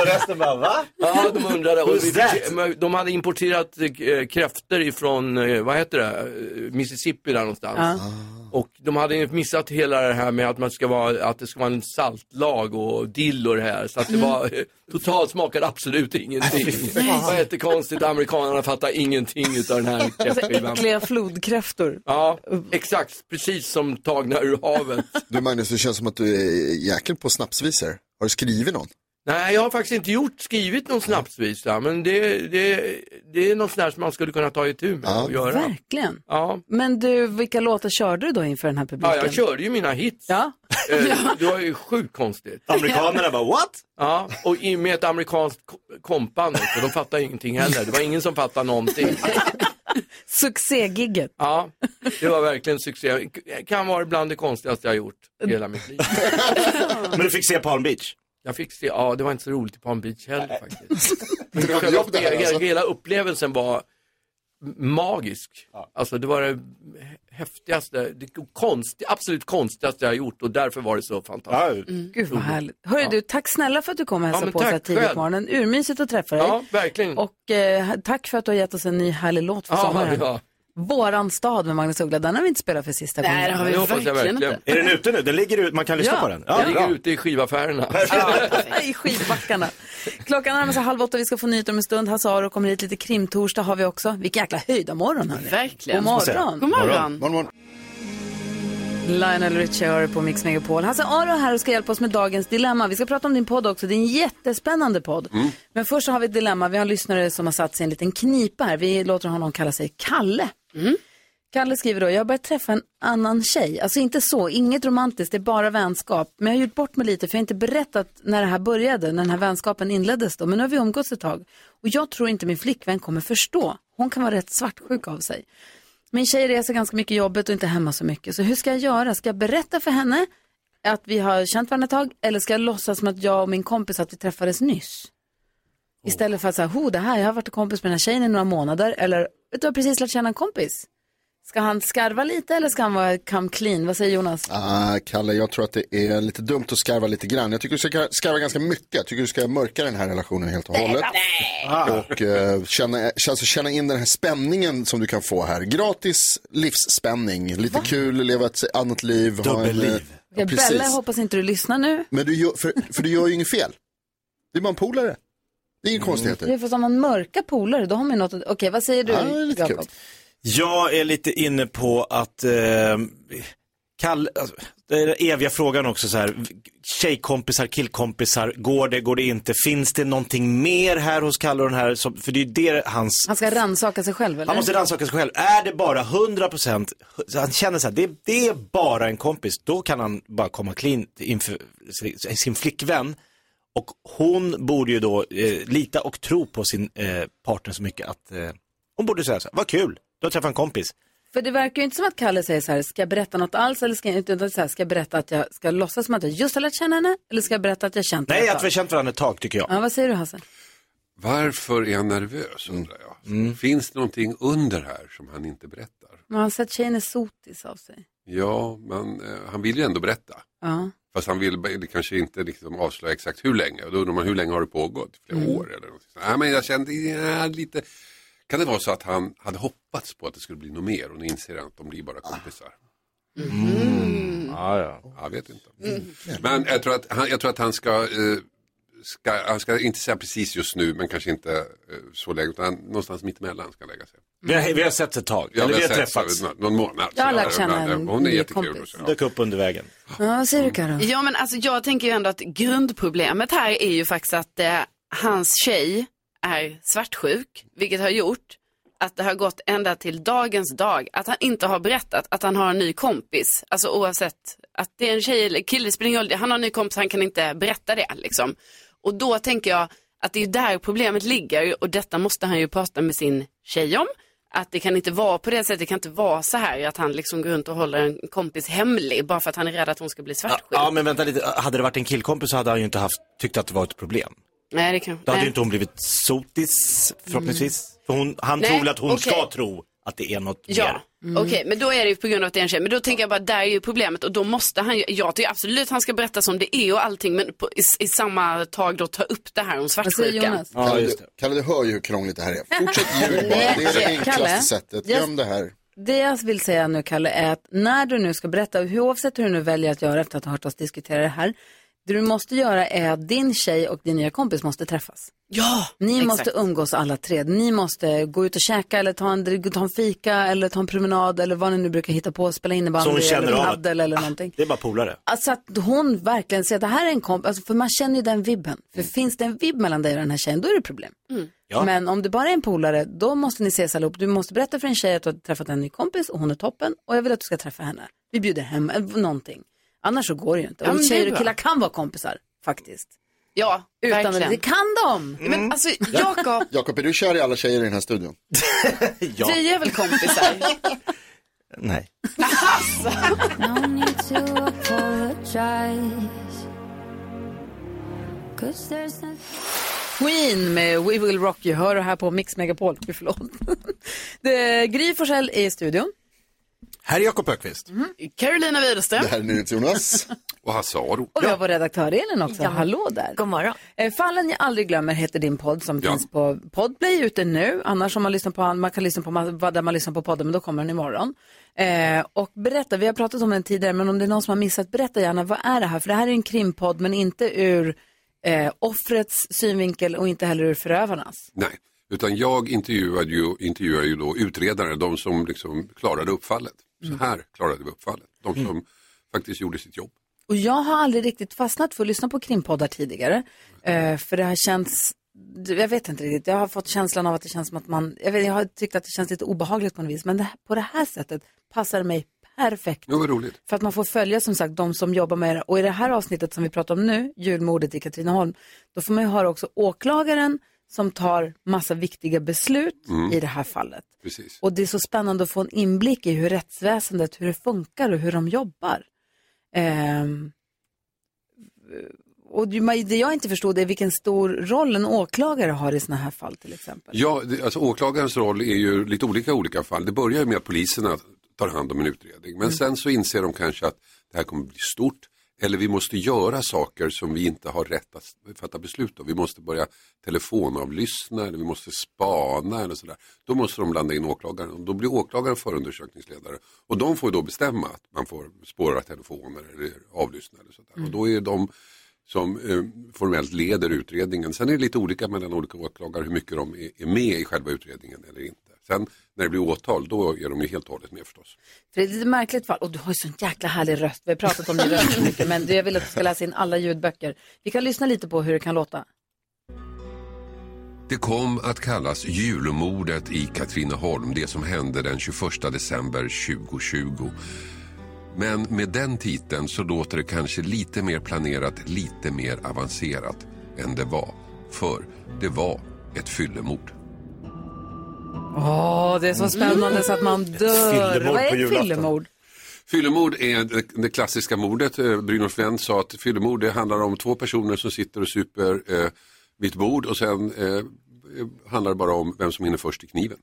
Speaker 3: Resten bara, va?
Speaker 6: Ja, de undrade. Och
Speaker 3: Who's that?
Speaker 6: vi, men de hade importerat eh, kräftor ifrån, eh, vad heter det, Eh, Mississippi där någonstans. Och de hade ju missat hela det här med att, man ska vara, att det ska vara en saltlag och dill och det här. Så att det
Speaker 4: Mm.
Speaker 6: var, eh, totalt smakade absolut ingenting. det var jättekonstigt, amerikanerna fattade ingenting utav den här
Speaker 1: Alltså,
Speaker 6: kräftskivan.
Speaker 7: Äckliga flodkräftor.
Speaker 6: Ja, exakt, precis som tagna ur havet.
Speaker 2: Du Magnus, det känns som att du är jäkel på snapsvisor. Har du skrivit någon?
Speaker 6: Nej, jag har faktiskt inte gjort, skrivit någon snapsvisa, men det, det, det är något sånt här som man skulle kunna ta itu med och göra.
Speaker 1: Verkligen.
Speaker 6: Ja.
Speaker 1: Men du, vilka låtar körde du då inför den här publiken?
Speaker 6: ja, jag körde ju mina hits.
Speaker 1: Ja.
Speaker 6: Eh, Det var ju sjukt konstigt.
Speaker 3: Amerikanerna bara, what?
Speaker 6: Ja, och i med ett amerikanskt ko- kompan också, de fattade ingenting heller. Det var ingen som fattade någonting.
Speaker 1: Succégigget.
Speaker 6: Ja, det var verkligen succé. K- Kan vara bland det konstigaste jag har gjort i hela mitt liv.
Speaker 3: Men du fick se Palm Beach.
Speaker 6: Jag fick se, ja det var inte så roligt i Palm Beach heller faktiskt. Men
Speaker 2: Det var
Speaker 6: själva
Speaker 2: jobb det här,
Speaker 6: spe-
Speaker 2: alltså.
Speaker 6: Hela upplevelsen var m- magisk. Alltså det var det häftigaste, det konst, absolut konstigaste jag har gjort och därför var det så fantastiskt.
Speaker 3: Ja,
Speaker 1: Gud vad härligt. Hörru du, tack snälla för att du kom och hälsade
Speaker 6: men
Speaker 1: på oss
Speaker 6: tack
Speaker 1: här tidigt
Speaker 6: själv.
Speaker 1: på morgonen. Urmysigt att träffa dig.
Speaker 6: Ja, verkligen.
Speaker 1: Och eh, tack för att du har gett oss en ny härlig låt för
Speaker 6: ja,
Speaker 1: sommaren.
Speaker 6: ja.
Speaker 1: Våran stad med Magnus Uggla, den har vi inte spelat för sista gången.
Speaker 4: Nej, det har vi
Speaker 6: Mm. Det hoppas jag
Speaker 4: verkligen,
Speaker 6: verkligen.
Speaker 4: inte.
Speaker 3: Är den ute nu? Den ligger ut, man kan lyssna
Speaker 1: Ja.
Speaker 3: på den?
Speaker 6: Jag
Speaker 3: bra.
Speaker 6: ligger ute i skivaffärerna.
Speaker 1: I skidbackarna. Klockan närmar sig halv åtta, vi ska få nyheter om en stund. Hasse Aro kommer hit, lite krimtorsdag har vi också. Vilken jäkla höjdarmorgon hörni. God
Speaker 4: Verkligen. God
Speaker 1: morgon.
Speaker 4: morgon.
Speaker 2: Morgon, morgon.
Speaker 1: Lionel Richie hör på Mix Megapol. Hasse Aro är här och ska hjälpa oss med dagens dilemma. Vi ska prata om din podd också, det är en jättespännande podd. Men först så har vi ett dilemma, vi har en lyssnare som har satt sig i en liten knipa här. Vi låter honom kalla sig Kalle. Kalle skriver då, jag har börjat träffa en annan tjej. Alltså inte så, inget romantiskt, det är bara vänskap. Men jag har gjort bort mig lite för jag har inte berättat när det här började, när den här vänskapen inleddes då. Men nu har vi umgåtts ett tag. Och jag tror inte min flickvän kommer förstå. Hon kan vara rätt svartsjuk av sig. Min tjej reser ganska mycket i jobbet och inte hemma så mycket. Så hur ska jag göra? Ska jag berätta för henne att vi har känt varandra ett tag? Eller ska jag låtsas som att jag och min kompis att vi träffades nyss?
Speaker 2: Oh.
Speaker 1: Istället för att säga, ho det här, jag har varit kompis med den här tjejen i några månader. Eller, vet du, jag har precis lärt känna en kompis. Ska han skarva lite eller ska han vara come clean? Vad säger Jonas?
Speaker 2: Ah, Kalle, jag tror att det är lite dumt att skarva lite grann. Jag tycker du ska skarva ganska mycket. Jag tycker du ska mörka den här relationen helt och hållet. Och eh, känna, alltså, känna in den här spänningen som du kan få här. Gratis livsspänning. Lite kul, leva ett annat liv. Ha en, eh,
Speaker 3: Dubbelliv.
Speaker 2: ja,
Speaker 1: Bella, jag
Speaker 2: precis.
Speaker 1: hoppas inte du lyssnar nu.
Speaker 2: Men du gör, för, för du gör ju inget fel. Det är bara en polare. Det är inga konstigheter.
Speaker 1: För om man mörka polare, då har man ju något att... Okej, vad säger du?
Speaker 2: Ja, det är lite
Speaker 1: Jakob?
Speaker 2: kul.
Speaker 3: Jag är lite inne på att, eh, kall, alltså, det är den eviga frågan också så här, tjejkompisar, killkompisar, går det, går det inte, finns det någonting mer här hos Kalle och den här, som, för det är ju det hans
Speaker 1: Han ska rannsaka sig själv, eller?
Speaker 3: Han måste rannsaka sig själv. Är det bara 100%, så han känner så här, det, det är bara en kompis, då kan han bara komma clean inför sin- sin flickvän. Och hon borde ju då eh, lita och tro på sin eh, partner så mycket att eh, hon borde säga så här, vad kul, du har träffat en kompis.
Speaker 1: För det verkar ju inte som att Kalle säger så här, ska jag berätta något alls eller ska jag inte, utan så här, ska jag berätta att jag ska låtsas som att jag just har lärt känna henne eller ska jag berätta att jag känt henne
Speaker 3: Nej,
Speaker 1: ett
Speaker 3: att vi
Speaker 1: tag?
Speaker 3: har känt varandra ett tag tycker jag.
Speaker 1: Ja, vad säger du Hasse?
Speaker 8: Varför är han nervös undrar jag. Finns det någonting under här som han inte berättar? berättar.
Speaker 1: Mm. Men han sett tjejen är sotis av sig.
Speaker 8: Ja, men eh, han vill ju ändå berätta.
Speaker 1: Ja.
Speaker 8: Fast han vill be- kanske inte liksom avslöja exakt hur länge. Och då undrar man hur länge har det pågått? Flera
Speaker 1: Mm.
Speaker 8: år eller någonting. sånt. Nej, men jag kände ja, lite... Kan det vara så att han hade hoppats på att det skulle bli något mer och nu inser han att de blir bara kompisar?
Speaker 3: Ja, ja.
Speaker 8: Jag vet inte.
Speaker 1: Mm.
Speaker 8: Mm. Men jag tror att han, jag tror att han ska, eh, ska, han ska inte säga precis just nu, men kanske inte eh, så länge, utan någonstans mittemellan ska han lägga sig.
Speaker 3: Vi har, vi har sett ett tag.
Speaker 8: Ja,
Speaker 3: Eller
Speaker 8: vi
Speaker 3: vi
Speaker 8: har
Speaker 3: har
Speaker 8: sett
Speaker 3: träffats.
Speaker 8: så- någon månad.
Speaker 1: Jag har lärt känna en
Speaker 8: Hon är
Speaker 1: ny
Speaker 8: jättekul.
Speaker 1: kompis.
Speaker 3: Dök upp under vägen.
Speaker 1: Ja, vad säger du Karo?
Speaker 4: Ja men alltså jag tänker ju ändå att grundproblemet här är ju faktiskt att eh, hans tjej är svartsjuk, vilket har gjort att det har gått ända till dagens dag att han inte har berättat att han har en ny kompis. Alltså oavsett att det är en tjej eller kille, det spelar ingen roll, han har en ny kompis, han kan inte berätta det liksom. Och då tänker jag att det är där problemet ligger och detta måste han ju prata med sin tjej om. Att det kan inte vara på det sättet, det kan inte vara så här att han liksom går runt och håller en kompis hemlig bara för att han är rädd att hon ska bli svartsjuk.
Speaker 3: Ja, men vänta lite. Hade det varit en killkompis så hade han ju inte haft, tyckt att det var ett problem.
Speaker 4: Nej, det kan...
Speaker 3: Då hade
Speaker 4: nej.
Speaker 3: ju inte hon blivit sotis förhoppningsvis. För hon, han
Speaker 4: Mm. Nej,
Speaker 3: tror väl att hon
Speaker 4: okej.
Speaker 3: ska tro att det är något
Speaker 4: Ja, mm.
Speaker 3: mer.
Speaker 4: okej, men då är det ju på grund av att det är en tjej. Men då tänker jag bara, där är ju problemet och då måste han ju, jag tycker absolut han ska berätta som det är och allting, men på, i, i samma tag då ta upp det här om svartsjukan.
Speaker 2: Kalle, du, Kalle, du hör ju hur krångligt det här är. Fortsätt ljug bara. Det är det
Speaker 1: Kalle,
Speaker 2: enklaste sättet.
Speaker 1: jag-
Speaker 2: Göm det här.
Speaker 1: Det jag vill säga nu Kalle är att när du nu ska berätta, hur- oavsett hur du nu väljer att göra efter att ha hört oss diskutera det här, det du måste göra är att din tjej och din nya kompis måste träffas.
Speaker 4: Ja,
Speaker 1: Ni
Speaker 4: exakt.
Speaker 1: måste umgås alla tre. Ni måste gå ut och käka eller ta en, ta en fika eller ta en promenad eller vad ni nu brukar hitta på, spela
Speaker 3: Så hon
Speaker 1: innebandy
Speaker 3: känner
Speaker 1: eller
Speaker 3: av att-
Speaker 1: padel eller någonting.
Speaker 3: Det är bara polare.
Speaker 1: Alltså att hon verkligen ser att det här är en kompis, alltså för man känner ju den vibben. För finns det en vibb mellan dig och den här tjejen, då är det problem.
Speaker 3: Mm.
Speaker 4: Mm.
Speaker 3: Ja.
Speaker 1: Men om det bara är en polare, då måste ni ses allihop. Du måste berätta för en tjej att du har träffat en ny kompis och hon är toppen och jag vill att du ska träffa henne. Vi bjuder hem eh, någonting. Annars så går det ju inte.
Speaker 4: Ja, men
Speaker 1: och
Speaker 4: det är
Speaker 1: tjejer
Speaker 4: bra.
Speaker 1: och killar kan vara kompisar, faktiskt.
Speaker 4: Ja,
Speaker 1: Utan
Speaker 4: verkligen.
Speaker 1: det kan de!
Speaker 3: Mm.
Speaker 4: Men alltså, Jakob,
Speaker 2: Jakob, är du kär i alla tjejer i den här studion?
Speaker 3: Ja.
Speaker 4: vi är väl kompisar?
Speaker 3: Nej.
Speaker 1: Queen med We Will Rock You hör du här på Mix Megapol. Gud, Förlåt. Det är Gry Forssell är i studion.
Speaker 9: Här är Jakob Ökvist.
Speaker 4: Carolina Widerström.
Speaker 2: Det här är NyhetsJonas.
Speaker 8: Och Hasse Aro.
Speaker 1: Och vi har vår redaktör Elin också. Hallå där.
Speaker 5: God morgon.
Speaker 1: Eh, Fallen jag aldrig glömmer heter din podd som
Speaker 8: Ja.
Speaker 1: finns på Podplay ute nu. Annars om man lyssnar på, man kan lyssna på ma- där man lyssnar på podden, men då kommer den imorgon. Eh, och berätta, vi har pratat om den tidigare, men om det är någon som har missat, berätta gärna vad är det här? För det här är en krimpodd, men inte ur eh, offrets synvinkel och inte heller ur förövarnas.
Speaker 8: Nej, utan jag intervjuar ju, intervjuar ju då utredare, de som liksom klarade uppfallet. Så
Speaker 2: Mm.
Speaker 8: här klarade vi uppfallet. De som faktiskt gjorde sitt jobb.
Speaker 1: Och jag har aldrig riktigt fastnat för att lyssna på krimpoddar tidigare, eh, för det har känts jag vet inte riktigt, jag har fått känslan av att det känns som att man, jag, vet, jag har tyckt att det känns lite obehagligt på något vis, men det, här- på det här sättet passar det mig perfekt.
Speaker 8: Det var roligt.
Speaker 1: För att man får följa som sagt de som jobbar med det. Och i det här avsnittet som vi pratar om nu, julmordet i Katrineholm, då får man ju höra också åklagaren som tar massa viktiga beslut
Speaker 8: Mm.
Speaker 1: i det här fallet.
Speaker 8: Precis.
Speaker 1: Och det är så spännande att få en inblick i hur rättsväsendet, hur det funkar och hur de jobbar. Ehm, och det man- det jag inte förstod är vilken stor roll en åklagare har i sådana här fall till exempel.
Speaker 8: Ja, det, alltså åklagarens roll är ju lite olika i olika fall. Det börjar ju med att poliserna tar hand om en utredning. Men sen så inser de kanske att det här kommer bli stort. Eller vi måste göra saker som vi inte har rätt att fatta beslut om. Vi måste börja telefonavlyssna eller vi måste spana eller sådär. Då måste de blanda in åklagaren. Och Då blir åklagaren förundersökningsledare. Och de får ju då bestämma att man får spåra telefoner eller avlyssna eller sådär. Och då är de som eh, formellt leder utredningen. Sen är det lite olika mellan olika åklagare hur mycket de är, är med i själva utredningen eller inte. Sen när det blir åtal då är de ju helt och hållet med förstås.
Speaker 1: För det är ett lite märkligt fall. Och du har ju sån jäkla härlig röst. Vi har pratat om din röst så mycket, men jag vill att du ska läsa in alla ljudböcker. Vi kan lyssna lite på hur det kan låta.
Speaker 10: Det kom att kallas julmordet i Katrineholm, det som hände den 21 december 2020. Men med den titeln så låter det kanske lite mer planerat, lite mer avancerat än det var. För det var ett fyllemord.
Speaker 1: Åh, det är så spännande så att man dör.
Speaker 8: fyllemord
Speaker 1: Vad
Speaker 8: på
Speaker 1: är ett
Speaker 8: julafton.
Speaker 1: fyllemord?
Speaker 8: Fyllemord är det- det klassiska mordet. Eh, Brynolf Wendt sa att fyllemord det handlar om två personer som sitter och super eh, vid ett bord och sen eh, handlar det bara om vem som hinner först i kniven.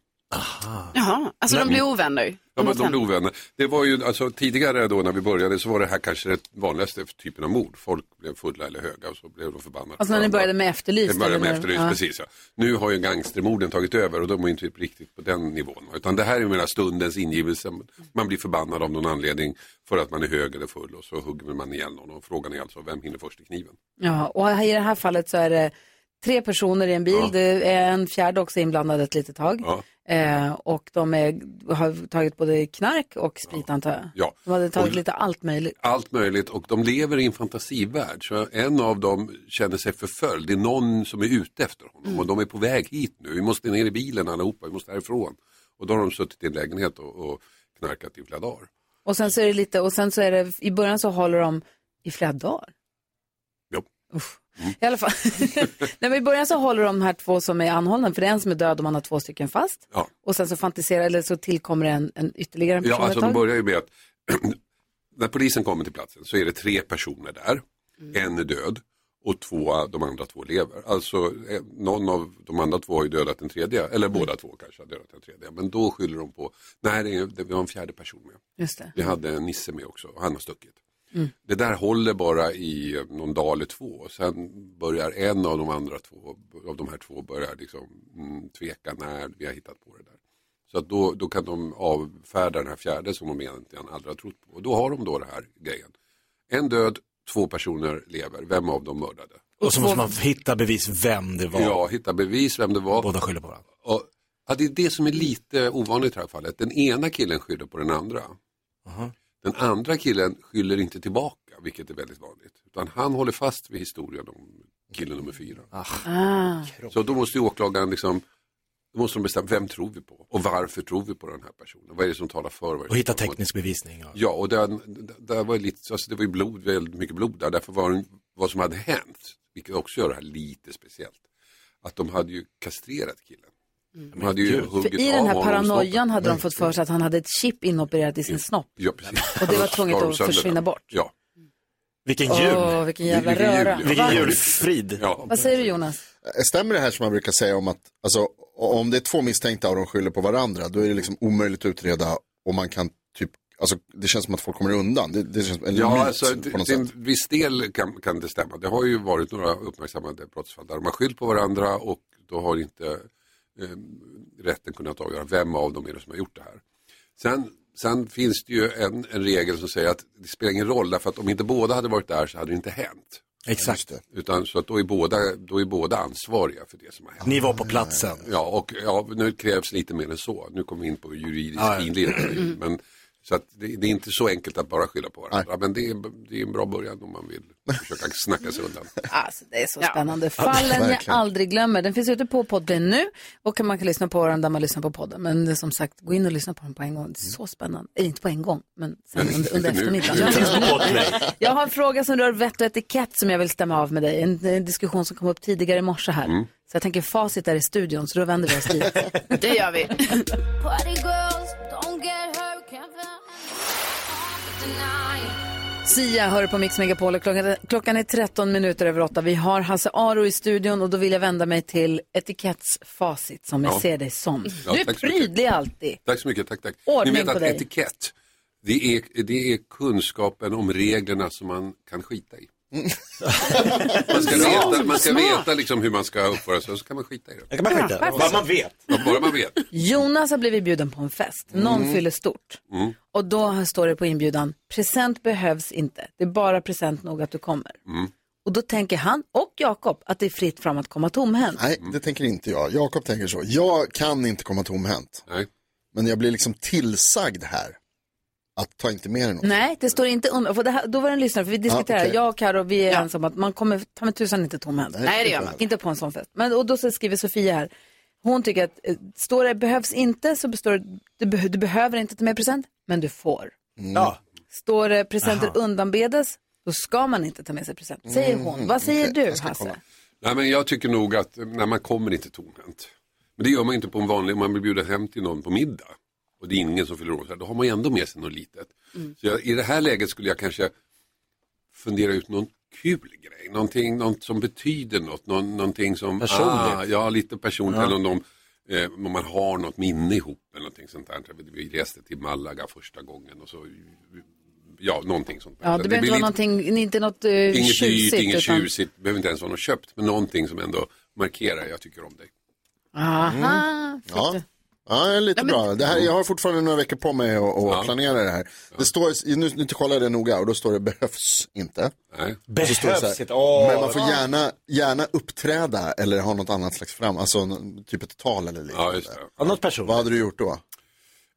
Speaker 4: Jaha, alltså de
Speaker 8: Nej.
Speaker 4: blir ovänner?
Speaker 8: Ja, men de blev ovänner. Det var ju, alltså, tidigare då när vi började så var det här kanske den vanligaste typen av mord. Folk blev fulla eller höga och så blev de förbannade.
Speaker 1: Alltså när ni började med Efterlyst?
Speaker 8: Det började med
Speaker 1: eller?
Speaker 8: Efterlyst,
Speaker 1: Ja.
Speaker 8: precis ja. Nu har ju gangstermorden tagit över och de är ju inte riktigt på den nivån. Utan det här är ju mera stundens ingivelse. Man blir förbannad av någon anledning för att man är hög eller full och så hugger man ihjäl någon. Och frågan är alltså, vem hinner först i kniven?
Speaker 1: Ja, och i det här fallet så är det tre personer i en bil.
Speaker 8: Ja.
Speaker 1: Det är en fjärde också inblandad ett litet tag.
Speaker 8: Ja.
Speaker 1: Eh, och de är, har tagit både knark och sprit antar jag.
Speaker 8: Ja.
Speaker 1: De hade tagit
Speaker 8: Och-
Speaker 1: lite allt möjligt.
Speaker 8: allt möjligt och de lever i en fantasivärld. Så en av dem känner sig förföljd. Det är någon som är ute efter honom och de är på väg hit nu. Vi måste ner i bilen allihopa, vi måste härifrån. Och då har de suttit i en lägenhet och, och knarkat i flera dagar.
Speaker 1: Och sen så är det lite, och sen så är det, i början så håller de i flera dagar.
Speaker 8: Jo. Mm.
Speaker 1: Uff. I alla fall. Nej, men I början så håller de här två som är anhållna, för det är en som är död och man har två stycken fast.
Speaker 8: Ja.
Speaker 1: Och sen så fantiserar, eller så tillkommer en, en ytterligare person
Speaker 8: Ja, alltså
Speaker 1: ett
Speaker 8: de
Speaker 1: tag.
Speaker 8: börjar ju med att när polisen kommer till platsen så är det tre personer där.
Speaker 1: Mm.
Speaker 8: En är död och två, de andra två lever. Alltså eh, någon av de andra två har ju dödat den tredje, eller
Speaker 1: Mm.
Speaker 8: båda två kanske har dödat den tredje. Men då skyller de på, nej det är- det var en fjärde person med.
Speaker 1: Just det.
Speaker 8: Vi hade en Nisse med också och han har stuckit.
Speaker 1: Mm.
Speaker 8: Det där håller bara i någon dag eller två. Och Sen börjar en av de andra två, av de här två börjar liksom mm, tveka när vi har hittat på det där. Så att då, då kan de avfärda den här fjärde som de egentligen aldrig har trott på. Och då har de då den här grejen. En död, två personer lever. Vem av dem mördade?
Speaker 3: Och så måste man hitta bevis vem det var.
Speaker 8: Ja, hitta bevis vem det var.
Speaker 3: Båda skyller på varandra.
Speaker 8: Och, ja, det är det som är lite ovanligt i det här fallet. Den ena killen skyller på den andra. Den andra killen skyller inte tillbaka, vilket är väldigt vanligt. Utan han håller fast vid historien om killen nummer fyra.
Speaker 1: Ah.
Speaker 8: Så då måste ju åklagaren liksom, då måste de bestämma, vem tror vi på? Och varför tror vi på den här personen? Vad är det som talar för? Vad är det
Speaker 3: Och
Speaker 8: som
Speaker 3: hitta
Speaker 8: talar emot?
Speaker 3: teknisk bevisning. Ja.
Speaker 8: Ja, och den, d- där var ju lite, alltså det var ju blod, väldigt mycket blod där. Därför var den, vad som hade hänt, vilket också gör det här lite speciellt, att de hade ju kastrerat killen. De hade ju
Speaker 3: gud.
Speaker 8: huggit
Speaker 1: För i den
Speaker 8: av
Speaker 1: här
Speaker 8: honom
Speaker 1: paranoian
Speaker 8: snoppen.
Speaker 1: hade de fått för sig att han hade ett chip inopererat i sin snopp.
Speaker 8: Ja, precis.
Speaker 1: Och det var
Speaker 8: Då
Speaker 1: tvunget
Speaker 8: skar de
Speaker 1: att
Speaker 8: sönder
Speaker 1: försvinna
Speaker 8: den.
Speaker 1: bort.
Speaker 8: Ja.
Speaker 3: Vilken
Speaker 1: Åh,
Speaker 8: Oh.
Speaker 1: jul. vilken jävla röra.
Speaker 3: Vilken
Speaker 1: Va?
Speaker 3: julfrid.
Speaker 8: Ja.
Speaker 1: Vad säger du Jonas?
Speaker 2: Eh, Stämmer det här som man brukar säga om att alltså, om det är två misstänkta och de skyller på varandra då är det liksom omöjligt att utreda och man kan typ, alltså det känns som att folk kommer undan. Det, det känns som en myt
Speaker 8: Ja, alltså, det,
Speaker 2: på något
Speaker 8: det, är
Speaker 2: sätt.
Speaker 8: en viss del kan, kan det stämma. Det har ju varit några uppmärksammade brottsfall där de har skyllt på varandra och då har inte eh, rätten kunnat avgöra vem av dem är det som har gjort det här. Sen, sen finns det ju en, en regel som säger att det spelar ingen roll därför att om inte båda hade varit där så hade det inte hänt.
Speaker 3: Exakt.
Speaker 8: Utan så att då är båda, då är båda ansvariga för det som har hänt.
Speaker 3: Ni var på platsen.
Speaker 8: Ja, och ja, nu krävs lite mer än så. Nu kommer vi in på juridisk
Speaker 3: Ja, ja.
Speaker 8: finlir. Men, så att det, det är inte så enkelt att bara skylla på varandra. Men det är, det är en bra början om man vill försöka snacka sig undan.
Speaker 1: Alltså det är så spännande.
Speaker 8: Ja,
Speaker 1: Fallen jag
Speaker 8: verkligen.
Speaker 1: aldrig glömmer. Den finns ute på podden nu och kan- man kan lyssna på den där man lyssnar på podden. Men det är som sagt, gå in och lyssna på den på en gång. Det är
Speaker 8: Mm.
Speaker 1: så spännande. Eller inte på en gång, men sen under, under
Speaker 11: Nu.
Speaker 1: eftermiddagen.
Speaker 11: Nu finns det på Podplay.
Speaker 1: Jag har en fråga som rör vett och etikett som jag vill stämma av med dig. En, en diskussion som kom upp tidigare i morse här.
Speaker 8: Mm.
Speaker 1: Så jag tänker facit är i studion, så då vänder vi oss dit.
Speaker 4: Det gör vi.
Speaker 1: Sia hör på Mix Megapol och klockan, klockan är 13 minuter över 8. Vi har Hasse Aro i studion och då vill jag vända mig till etikettsfacit som jag
Speaker 8: Ja.
Speaker 1: ser dig som.
Speaker 8: Ja,
Speaker 1: du är
Speaker 8: tack så mycket.
Speaker 1: prydlig alltid.
Speaker 8: Tack så mycket, tack, tack.
Speaker 1: Ordning
Speaker 8: Ni vet
Speaker 1: på
Speaker 8: att
Speaker 1: dig.
Speaker 8: etikett, det är, det är kunskapen om reglerna som man kan skita i.
Speaker 2: Mm.
Speaker 8: Man ska
Speaker 3: Ja,
Speaker 8: veta, man ska
Speaker 3: smart.
Speaker 8: veta liksom hur man ska uppföra sig och så kan man skita i det.
Speaker 3: Jag kan bara skita. Bara man vet.
Speaker 8: Bara man vet.
Speaker 1: Jonas har blivit bjuden på en fest. Någon
Speaker 8: Mm.
Speaker 1: fyller stort.
Speaker 8: Mm.
Speaker 1: Och då står det på inbjudan, present behövs inte. Det är bara present nog att du kommer.
Speaker 2: Mm.
Speaker 1: Och då tänker han och Jakob att det är fritt fram att komma tomhänt.
Speaker 2: Nej, det tänker inte jag. Jakob tänker så. Jag kan inte komma tomhänt. Men jag blir liksom tillsagd här att ta inte med dig något.
Speaker 1: Nej, det står inte under. För det här, då var det en lyssnare, för
Speaker 8: Ah,
Speaker 1: vi diskuterade,
Speaker 2: okej.
Speaker 1: jag och Karo, vi är ensamma om att man kommer ta med tusan inte tomhänt.
Speaker 2: Nej, det gör man.
Speaker 1: Inte på en sån fest. Men, och då så skriver Sofia här, hon tycker att eh, står det behövs inte så består det, du, beh- du behöver inte ta med present, men du får.
Speaker 2: Mm.
Speaker 3: Ja.
Speaker 1: Står det presenter
Speaker 8: Aha.
Speaker 1: undanbedes, då ska man inte ta med sig present, säger
Speaker 8: Mm,
Speaker 1: hon. Vad säger du, Hasse?
Speaker 8: Nej, men jag tycker nog att eh, när man kommer inte tomhänt. Men det gör man ju inte på en vanlig, om man blir bjuden hem till någon på middag och det är ingen som fyller år, så här, då har man ju ändå med sig något litet. Så jag, i det här läget skulle jag kanske fundera ut någon kul grej, någonting, något som betyder något, någon, någonting som,
Speaker 3: Personligt.
Speaker 8: ja, lite personligt,
Speaker 3: Ja.
Speaker 8: eller någon, Eh, om man har något minne ihop eller någonting sånt där. Vi reste till Malaga första gången och så, ja, någonting sånt.
Speaker 1: Ja, det, behöver inte
Speaker 8: blir
Speaker 1: vara
Speaker 8: lite-
Speaker 1: någonting, inte något uh,
Speaker 8: Inget dyrt,
Speaker 1: tjusigt.
Speaker 8: inget
Speaker 1: utan-
Speaker 8: tjusigt, behöver inte ens vara något köpt, men någonting som ändå markerar, jag tycker om dig. Mm.
Speaker 1: Aha,
Speaker 2: Ja. Ja, det är lite bra. Det här, jag har fortfarande några veckor på mig att, att planera det här. Det står, nu, nu kollar jag det noga och då står det behövs inte.
Speaker 8: Nej.
Speaker 2: Och så står det så här,
Speaker 3: Behövs inte. Åh.
Speaker 2: Men man får gärna, gärna uppträda eller ha något annat slags fram, alltså n- typ ett tal eller liknande. Ja, just
Speaker 3: det. Något personligt.
Speaker 2: Vad hade du gjort då?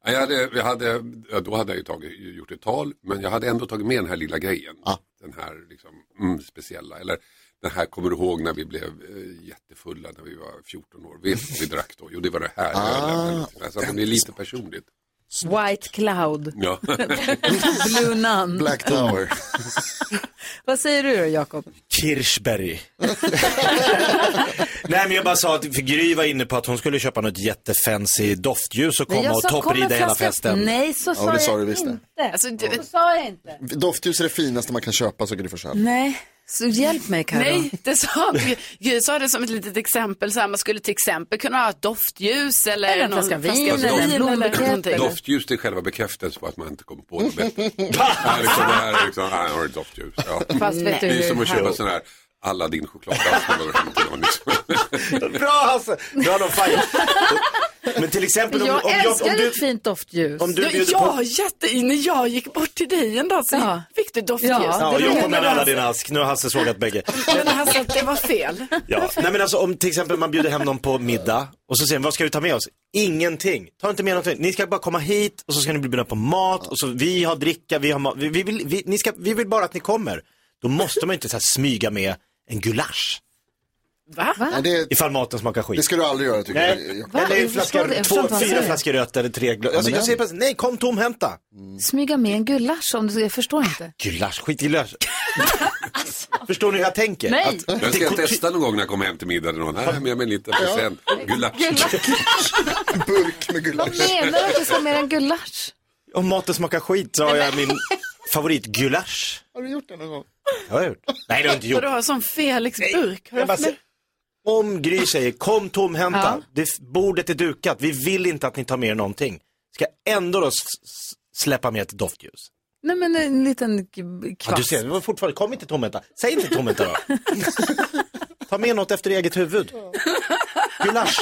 Speaker 8: Ja, Jag hade, jag hade, ja, då hade jag ju tagit, gjort ett tal, men jag hade ändå tagit med den här lilla grejen. Den här liksom, mm, speciella, eller den här kommer du ihåg när vi blev eh, jättefulla när vi var 14 år. Vet du vad vi drack då? Jo, det var det här.
Speaker 1: Ah,
Speaker 8: ölen. så att det blir lite personligt.
Speaker 1: White Cloud.
Speaker 8: Ja.
Speaker 1: Blue Nun.
Speaker 2: Black Tower.
Speaker 1: Vad säger du då, Jakob?
Speaker 3: Kirschberg. Nej men jag bara sa att för Gry var inne på att hon skulle köpa något jättefancy doftljus och
Speaker 1: Nej,
Speaker 3: komma
Speaker 1: jag
Speaker 3: och
Speaker 1: sa, kom en
Speaker 3: topprida hela
Speaker 1: flaska-
Speaker 3: festen.
Speaker 1: Nej, så sa
Speaker 2: det sa
Speaker 1: jag
Speaker 2: du visst det.
Speaker 1: inte.
Speaker 4: Alltså,
Speaker 1: Så sa jag inte.
Speaker 2: Doftljus är det finaste man kan köpa, så Gry
Speaker 3: Mm.
Speaker 2: Forssell.
Speaker 1: Nej, så hjälp mig Karo.
Speaker 4: Nej, det sa Gud- Gud sa det som ett litet exempel. Så här, man skulle till exempel kunna ha ett doftljus eller,
Speaker 1: Eller en
Speaker 4: någon
Speaker 1: flaska vin
Speaker 4: flaska
Speaker 8: eller en
Speaker 4: eller någonting.
Speaker 8: Doftljus är själva bekräftelsen på att man inte kommer på det bättre. det här är liksom, det här är liksom, nej, jag har ett doftljus. Ja.
Speaker 4: Fast vet du
Speaker 8: det är som
Speaker 4: hur
Speaker 8: att köpa
Speaker 4: här-
Speaker 8: sån här Aladdin-chokladask. eller vad det heter, liksom.
Speaker 3: Bra Hasse! Bra de fan. Men till exempel om, om,
Speaker 1: Jag
Speaker 3: jag,
Speaker 1: älskar
Speaker 3: om du...
Speaker 1: ett fint doftljus.
Speaker 3: om du
Speaker 4: Ja,
Speaker 3: bjuder
Speaker 4: jag
Speaker 3: på-
Speaker 4: jätte, när jag gick bort till dig en dag så fick du doftljus.
Speaker 3: Ja,
Speaker 4: det,
Speaker 3: jag
Speaker 4: var-
Speaker 3: kom med alla din ask. Nu har Hasse sågat bägge.
Speaker 4: Men alltså, det var fel.
Speaker 3: Ja. Nej men alltså om till exempel man bjuder hem någon på middag och så säger man, vad ska vi ta med oss? Ingenting. Ta inte med någonting. Ni ska bara komma hit och så ska ni bli bjudna på mat och så vi har dricka, vi har mat. Vi, vi, vill, vi, ni ska, vi vill bara att ni kommer. Då måste man ju inte så här, smyga med en gulasch.
Speaker 4: Va?
Speaker 2: Nej, det...
Speaker 3: Ifall maten smakar skit.
Speaker 2: Det ska du aldrig göra tycker
Speaker 3: Nej.
Speaker 2: jag.
Speaker 3: Eller en
Speaker 2: Jag förstår
Speaker 3: flaska,
Speaker 2: det. Jag förstår
Speaker 3: två,
Speaker 2: inte vad han
Speaker 3: fyra
Speaker 2: säger.
Speaker 3: flaskor rött eller tre glas. Alltså,
Speaker 2: men
Speaker 3: jag
Speaker 2: det-
Speaker 3: säger precis, nej kom tomhänta.
Speaker 1: Smyga med en gulasch om du, jag förstår inte.
Speaker 3: Gulasch, skit i gulasch.
Speaker 2: Alltså.
Speaker 3: Förstår ni hur jag tänker?
Speaker 1: Nej.
Speaker 8: Jag ska testa någon gång när jag kommer hem till middag. eller Någon. Här har jag med mig en liten
Speaker 1: Ja.
Speaker 8: present. Gulasch.
Speaker 2: Burk med gulasch.
Speaker 1: Vad menar du att du ska ha med en gulasch?
Speaker 3: Om maten smakar skit så har jag min favoritgulasch.
Speaker 2: Har du gjort det någon gång?
Speaker 3: Det har jag gjort. Nej, det har jag inte
Speaker 4: Och
Speaker 3: gjort.
Speaker 4: du har som
Speaker 1: liksom
Speaker 4: Felix burk. Har du
Speaker 3: Jag bara
Speaker 4: haft med?
Speaker 3: säger, om Gry säger kom tomhänta,
Speaker 4: Ja.
Speaker 3: det, bordet är dukat, vi vill inte att ni tar med er någonting. Ska jag ändå då s- s- släppa med ett doftljus?
Speaker 1: Nej men en liten k-
Speaker 3: Ja, du
Speaker 1: kvast.
Speaker 3: ser, det var fortfarande, kom inte tomhänta, säg inte tomhänta då. Ta med något efter eget huvud. Gulasch.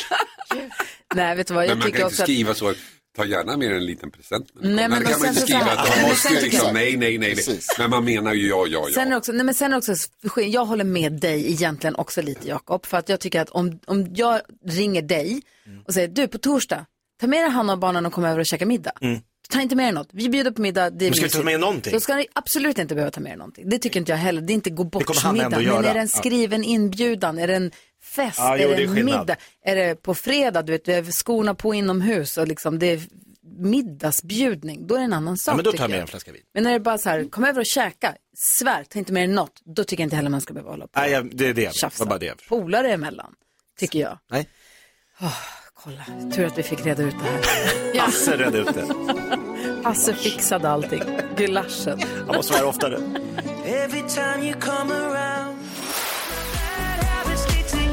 Speaker 1: Nej vet du vad,
Speaker 8: Men
Speaker 1: jag
Speaker 8: man
Speaker 1: tycker
Speaker 8: kan inte
Speaker 1: också att...
Speaker 8: skriva så. Ta gärna med en liten present. när du
Speaker 1: Nej,
Speaker 8: kommer.
Speaker 1: men
Speaker 8: det kan
Speaker 1: sen
Speaker 8: man inte
Speaker 1: så
Speaker 8: skriva.
Speaker 1: här-
Speaker 8: Att
Speaker 1: Nej,
Speaker 8: de
Speaker 1: men
Speaker 8: måste
Speaker 1: sen tycker
Speaker 8: liksom,
Speaker 1: jag-
Speaker 8: nej, nej, nej. nej. Men man menar ju ja, ja, ja.
Speaker 1: Sen är det också, nej men sen är det också, jag håller med dig egentligen också lite Jakob, för att jag tycker att om, om jag ringer dig och säger du på torsdag, ta med dig Hanna och barnen och kom över och käka middag.
Speaker 3: Mm.
Speaker 1: Ta inte med dig något, vi bjuder på middag, det är
Speaker 3: Men ska vi ta
Speaker 1: mysigt.
Speaker 3: med någonting?
Speaker 1: Då ska ni absolut inte behöva ta med er någonting. Det tycker inte jag heller, det är inte gå
Speaker 3: kommer
Speaker 1: bort
Speaker 3: Hanna
Speaker 1: middag.
Speaker 3: ändå
Speaker 1: Men
Speaker 3: göra.
Speaker 1: är det en
Speaker 3: Ja.
Speaker 1: skriven inbjudan, är det en fest,
Speaker 3: Ja, jo,
Speaker 1: är
Speaker 3: det
Speaker 1: det
Speaker 3: är
Speaker 1: en
Speaker 3: skillnad.
Speaker 1: middag, är det på fredag, du vet, du har skorna på inomhus och liksom det är middagsbjudning, då är det en annan sak
Speaker 3: Ja, men då tar
Speaker 1: tycker
Speaker 3: jag med
Speaker 1: jag.
Speaker 3: en flaska vin.
Speaker 1: Men när det är bara så här, kom över och käka, svär, ta inte med dig något, då tycker jag inte heller man ska behöva hålla på.
Speaker 3: Nej, jag- det är det jag vet. Det var bara det jag förstod.
Speaker 1: Polare emellan, tycker jag.
Speaker 3: Nej.
Speaker 1: Åh, kolla, tur att vi fick reda ut det här.
Speaker 3: Hasse redde ut det.
Speaker 1: Hasse fixade allting, gulaschen.
Speaker 3: Han måste vara här oftare.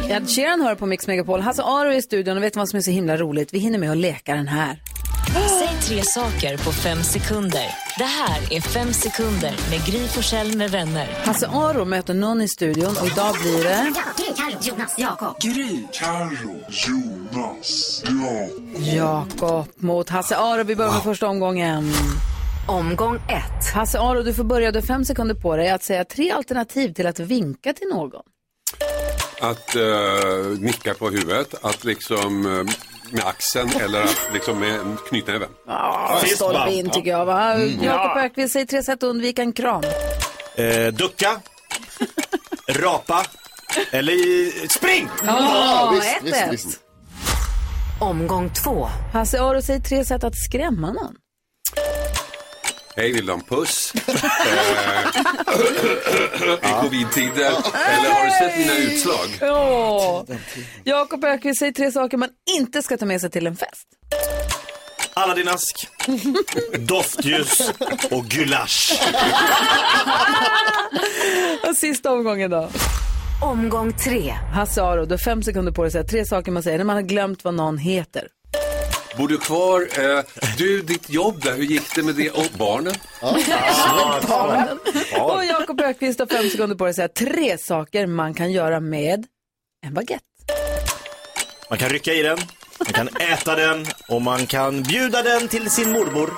Speaker 1: Ed Sheeran hör på Mix Megapol, Hasse Aro är i studion och vet du vad som är så himla roligt? Vi hinner med att leka den här.
Speaker 5: Säg tre saker på fem sekunder. Det här är Fem sekunder med Gry Forssell med vänner.
Speaker 1: Hasse Aro möter någon i studion och idag blir det...
Speaker 5: Gry, Carro, Jonas, Jakob.
Speaker 12: Gry. Carro. Jonas. Jakob.
Speaker 1: Jakob mot Hasse Aro. Vi börjar med första omgången. Omgång ett. Hasse Aro, du får börja. Du har fem sekunder på dig att säga tre alternativ till att vinka till någon.
Speaker 8: Att eh, nicka på huvudet, att liksom eh, med axeln eller att liksom med knytnäven.
Speaker 1: Stolpe in tycker jag. Va?
Speaker 8: Mm.
Speaker 1: Jakob Ökvist säger tre sätt att undvika en kram.
Speaker 3: Eh, ducka. Rapa. Eller i- spring!
Speaker 1: Ja, Ja, visst, ett, visst, ett.
Speaker 3: visst.
Speaker 1: Omgång två. Hasse Aro säger tre sätt att skrämma någon.
Speaker 8: Hej, vill du ha en puss? Eh, I covidtider. Eller har du sett mina utslag?
Speaker 1: Ja. Jakob Ökvist säger tre saker man inte ska ta med sig till en fest.
Speaker 3: Alla din ask. Doftljus och gulasch.
Speaker 1: och sista omgången då.
Speaker 11: Omgång tre.
Speaker 1: Hasse Aro, du har fem sekunder på dig att säga tre saker man säger när man har glömt vad någon heter.
Speaker 8: Bor du kvar? Eh, du, ditt jobb där, hur gick det med det? Och barnen?
Speaker 1: Barnen. Och Jakob Ökvist har fem sekunder på dig att säga tre saker man kan göra med en baguette.
Speaker 3: Man kan rycka i den, man kan äta den och man kan bjuda den till sin mormor.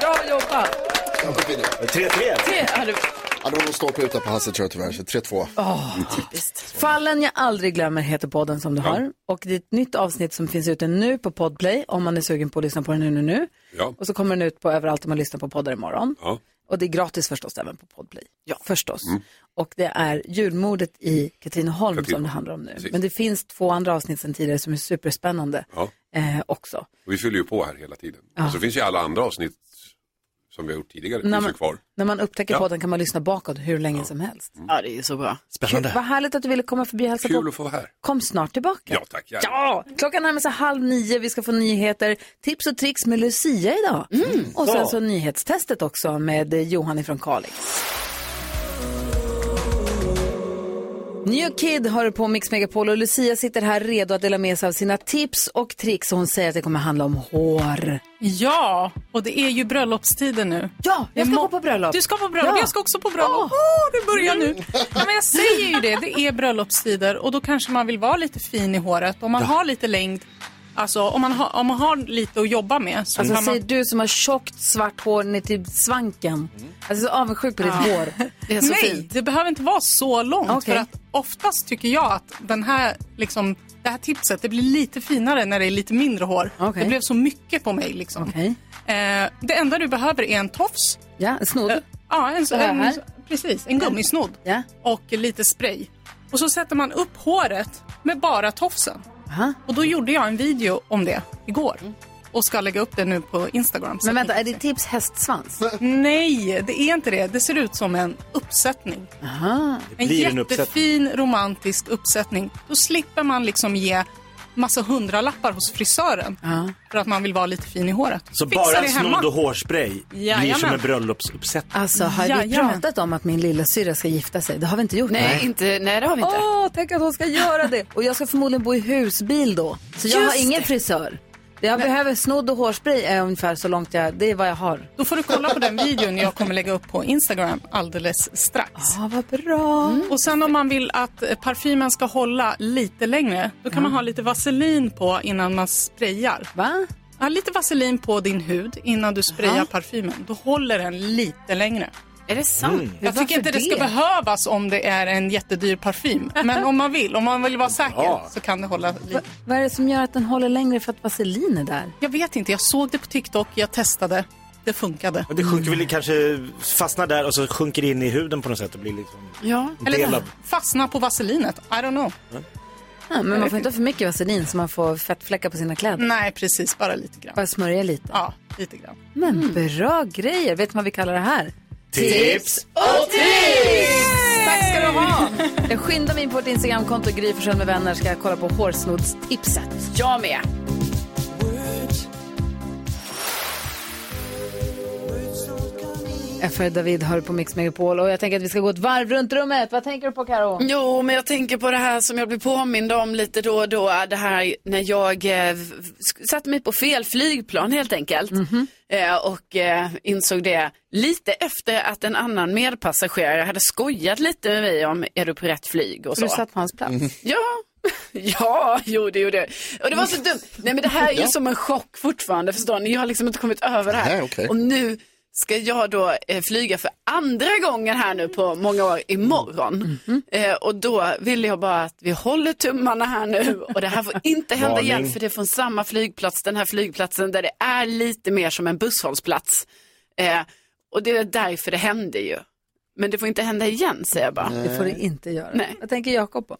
Speaker 1: bra jobbat!
Speaker 3: 3-3.
Speaker 1: Tre, ja, du-
Speaker 2: Ja, det var nog ståpluta på Hasse tror jag tyvärr, så 3-2.
Speaker 1: Åh,
Speaker 2: typiskt.
Speaker 1: Fallen jag aldrig glömmer heter podden som du har. Och det är ett nytt avsnitt som finns ute nu på Podplay om man är sugen på att lyssna på den nu, nu, nu.
Speaker 8: Ja.
Speaker 1: Och så kommer den ut på överallt om man lyssnar på poddar imorgon.
Speaker 8: Ja. Mm.
Speaker 1: Och det är gratis förstås även på Podplay. Ja, förstås. Och det är julmordet i Katrineholm som det handlar om nu. Men det finns två andra avsnitt sedan tidigare som är superspännande
Speaker 8: Ja.
Speaker 1: eh, också.
Speaker 8: Och vi fyller ju på här hela tiden.
Speaker 1: Ja.
Speaker 8: Och så finns ju alla andra avsnitt som vi har gjort tidigare,
Speaker 1: När
Speaker 8: finns ju
Speaker 1: man-
Speaker 8: kvar.
Speaker 1: När man upptäcker
Speaker 8: Ja.
Speaker 1: podden kan man lyssna bakåt hur länge som helst.
Speaker 4: Ja, det är ju så bra.
Speaker 1: Kul, vad härligt att du ville komma förbi och hälsa
Speaker 8: Kul
Speaker 1: på.
Speaker 8: att få vara här.
Speaker 1: Kom snart tillbaka.
Speaker 8: Ja, tack. gärna.
Speaker 1: Ja, klockan närmar sig halv nio. Vi ska få nyheter, tips och tricks med Lucia idag.
Speaker 13: Mm.
Speaker 1: Och sen
Speaker 8: Ja.
Speaker 1: så nyhetstestet också med eh, Johan ifrån Kalix. New Kid hör på Mix Megapol och Lucia sitter här redo att dela med sig av sina tips och tricks. Och hon säger att det kommer handla om hår.
Speaker 13: Ja, och det är ju bröllopstider nu.
Speaker 1: Ja, jag ska gå på bröllop.
Speaker 13: Du ska på bröllop,
Speaker 1: Ja.
Speaker 13: jag ska också på bröllop. Åh, det börjar nu. Ja, men jag säger ju det, det är bröllopstider och då kanske man vill vara lite fin i håret. Om man
Speaker 1: Ja.
Speaker 13: har lite längd, alltså om man, har om man har lite att jobba med så
Speaker 1: Alltså
Speaker 13: kan man...
Speaker 1: säger du som har tjockt svart hår ner till svanken. Alltså så avundsjuk på ditt
Speaker 13: Mm. Ja.
Speaker 1: hår.
Speaker 13: Nej, det behöver inte vara så långt.
Speaker 1: Okej.
Speaker 13: För att oftast tycker jag att den här, liksom, det här tipset det blir lite finare när det är lite mindre hår.
Speaker 1: Okej.
Speaker 13: Det blev så mycket på mig. Liksom.
Speaker 1: Okej.
Speaker 13: Eh, det enda du behöver är en tofs.
Speaker 1: Ja, en snodd.
Speaker 13: ja, en,
Speaker 1: Så här.
Speaker 13: en, precis, en gummisnodd. Och lite spray. Och så sätter man upp håret med bara tofsen. Och då gjorde jag en video om det igår. Och ska lägga upp det nu på Instagram.
Speaker 1: Mm. Men vänta, är det tips hästsvans?
Speaker 13: Nej, det är inte det. Det ser ut som en uppsättning.
Speaker 1: Aha.
Speaker 13: En jättefin romantisk uppsättning. Då slipper man liksom ge massa hundralappar hos frisören för att man vill vara lite fin i håret.
Speaker 3: Så
Speaker 13: Fixa
Speaker 3: bara
Speaker 13: det
Speaker 3: en
Speaker 13: hemma.
Speaker 3: snodd och hårspray blir
Speaker 13: Jajamän.
Speaker 3: som en bröllopsuppsättning.
Speaker 1: Alltså, har vi
Speaker 13: Jajamän.
Speaker 1: pratat om att min lilla syra ska gifta sig? Det har vi inte gjort.
Speaker 4: Nej, inte, nej det har vi inte.
Speaker 1: Åh, tänk att hon ska göra det. Och jag ska förmodligen bo i husbil då. Så jag
Speaker 4: Just
Speaker 1: har ingen frisör. Det jag behöver snodd och hårspray är ungefär så långt jag, det är vad jag har.
Speaker 13: Då får du kolla på den videon jag kommer lägga upp på Instagram alldeles strax.
Speaker 1: Ja, vad bra.
Speaker 13: Och sen om man vill att eh, parfymen ska hålla lite längre, då kan man ha lite vaselin på innan man sprayar.
Speaker 1: Va?
Speaker 13: Ja, lite vaselin på din hud innan du sprayar parfymen. Då håller den lite längre.
Speaker 4: Är det sant?
Speaker 13: Jag
Speaker 4: Varför
Speaker 13: tycker inte det ska
Speaker 4: det?
Speaker 13: behövas om det är en jättedyr parfym. Men om man vill, om man vill vara säker så kan det hålla lite.
Speaker 1: Vad är det som gör att den håller längre för att vaselin är där?
Speaker 13: Jag vet inte, jag såg det på TikTok, jag testade. Det funkade.
Speaker 3: Och Det sjunker väl kanske, fastnar där och så sjunker det in i huden på något sätt och blir liksom
Speaker 13: Ja,
Speaker 3: en del
Speaker 13: eller
Speaker 3: av...
Speaker 13: fastna på vaselinet. I don't know.
Speaker 1: Ja, men man får inte ha för mycket vaselin så man får fettfläckar på sina kläder.
Speaker 13: Nej, precis. Bara lite grann.
Speaker 1: Bara smörja lite.
Speaker 13: Ja, lite grann.
Speaker 1: Men bra grejer. Vet man vad vi kallar det här?
Speaker 13: Tips
Speaker 1: och
Speaker 13: tricks!
Speaker 1: Tack ska du ha! Jag skyndar mig in på vårt Instagramkonto, Gry Forssell med vänner, ska jag kolla på hårsnoddstipset.
Speaker 4: Jag med.
Speaker 1: FR David hör på Mix Megapol och jag tänker att vi ska gå ett varv runt rummet. Vad tänker du på Karo?
Speaker 4: Jo, men jag tänker på det här som jag blir påmind om lite då och då. Det här när jag eh, v- sk- satte mig på fel flygplan helt enkelt. Eh, och eh, insåg det lite efter att en annan medpassagerare hade skojat lite med mig om är du på rätt flyg och
Speaker 1: Och
Speaker 4: så.
Speaker 1: du satt på hans plats.
Speaker 4: Ja, ja, jo det gjorde jag. Och det var så dumt. Nej men det här är ju
Speaker 1: Ja.
Speaker 4: som en chock fortfarande förstår ni. Jag har liksom inte kommit över det här.
Speaker 1: Nej, okej.
Speaker 4: Och nu ska jag då eh, flyga för andra gången här nu på många år imorgon.
Speaker 1: Mm-hmm.
Speaker 4: Eh, och då vill jag bara att vi håller tummarna här nu och det här får inte hända
Speaker 1: Varning.
Speaker 4: igen för det är från samma flygplats, den här flygplatsen där det är lite mer som en busshållplats. Eh, och det är därför det hände ju. Men det får inte hända igen säger jag bara.
Speaker 1: Det får du
Speaker 3: Eh.
Speaker 1: inte göra.
Speaker 4: Nej.
Speaker 1: Vad tänker Jakob på?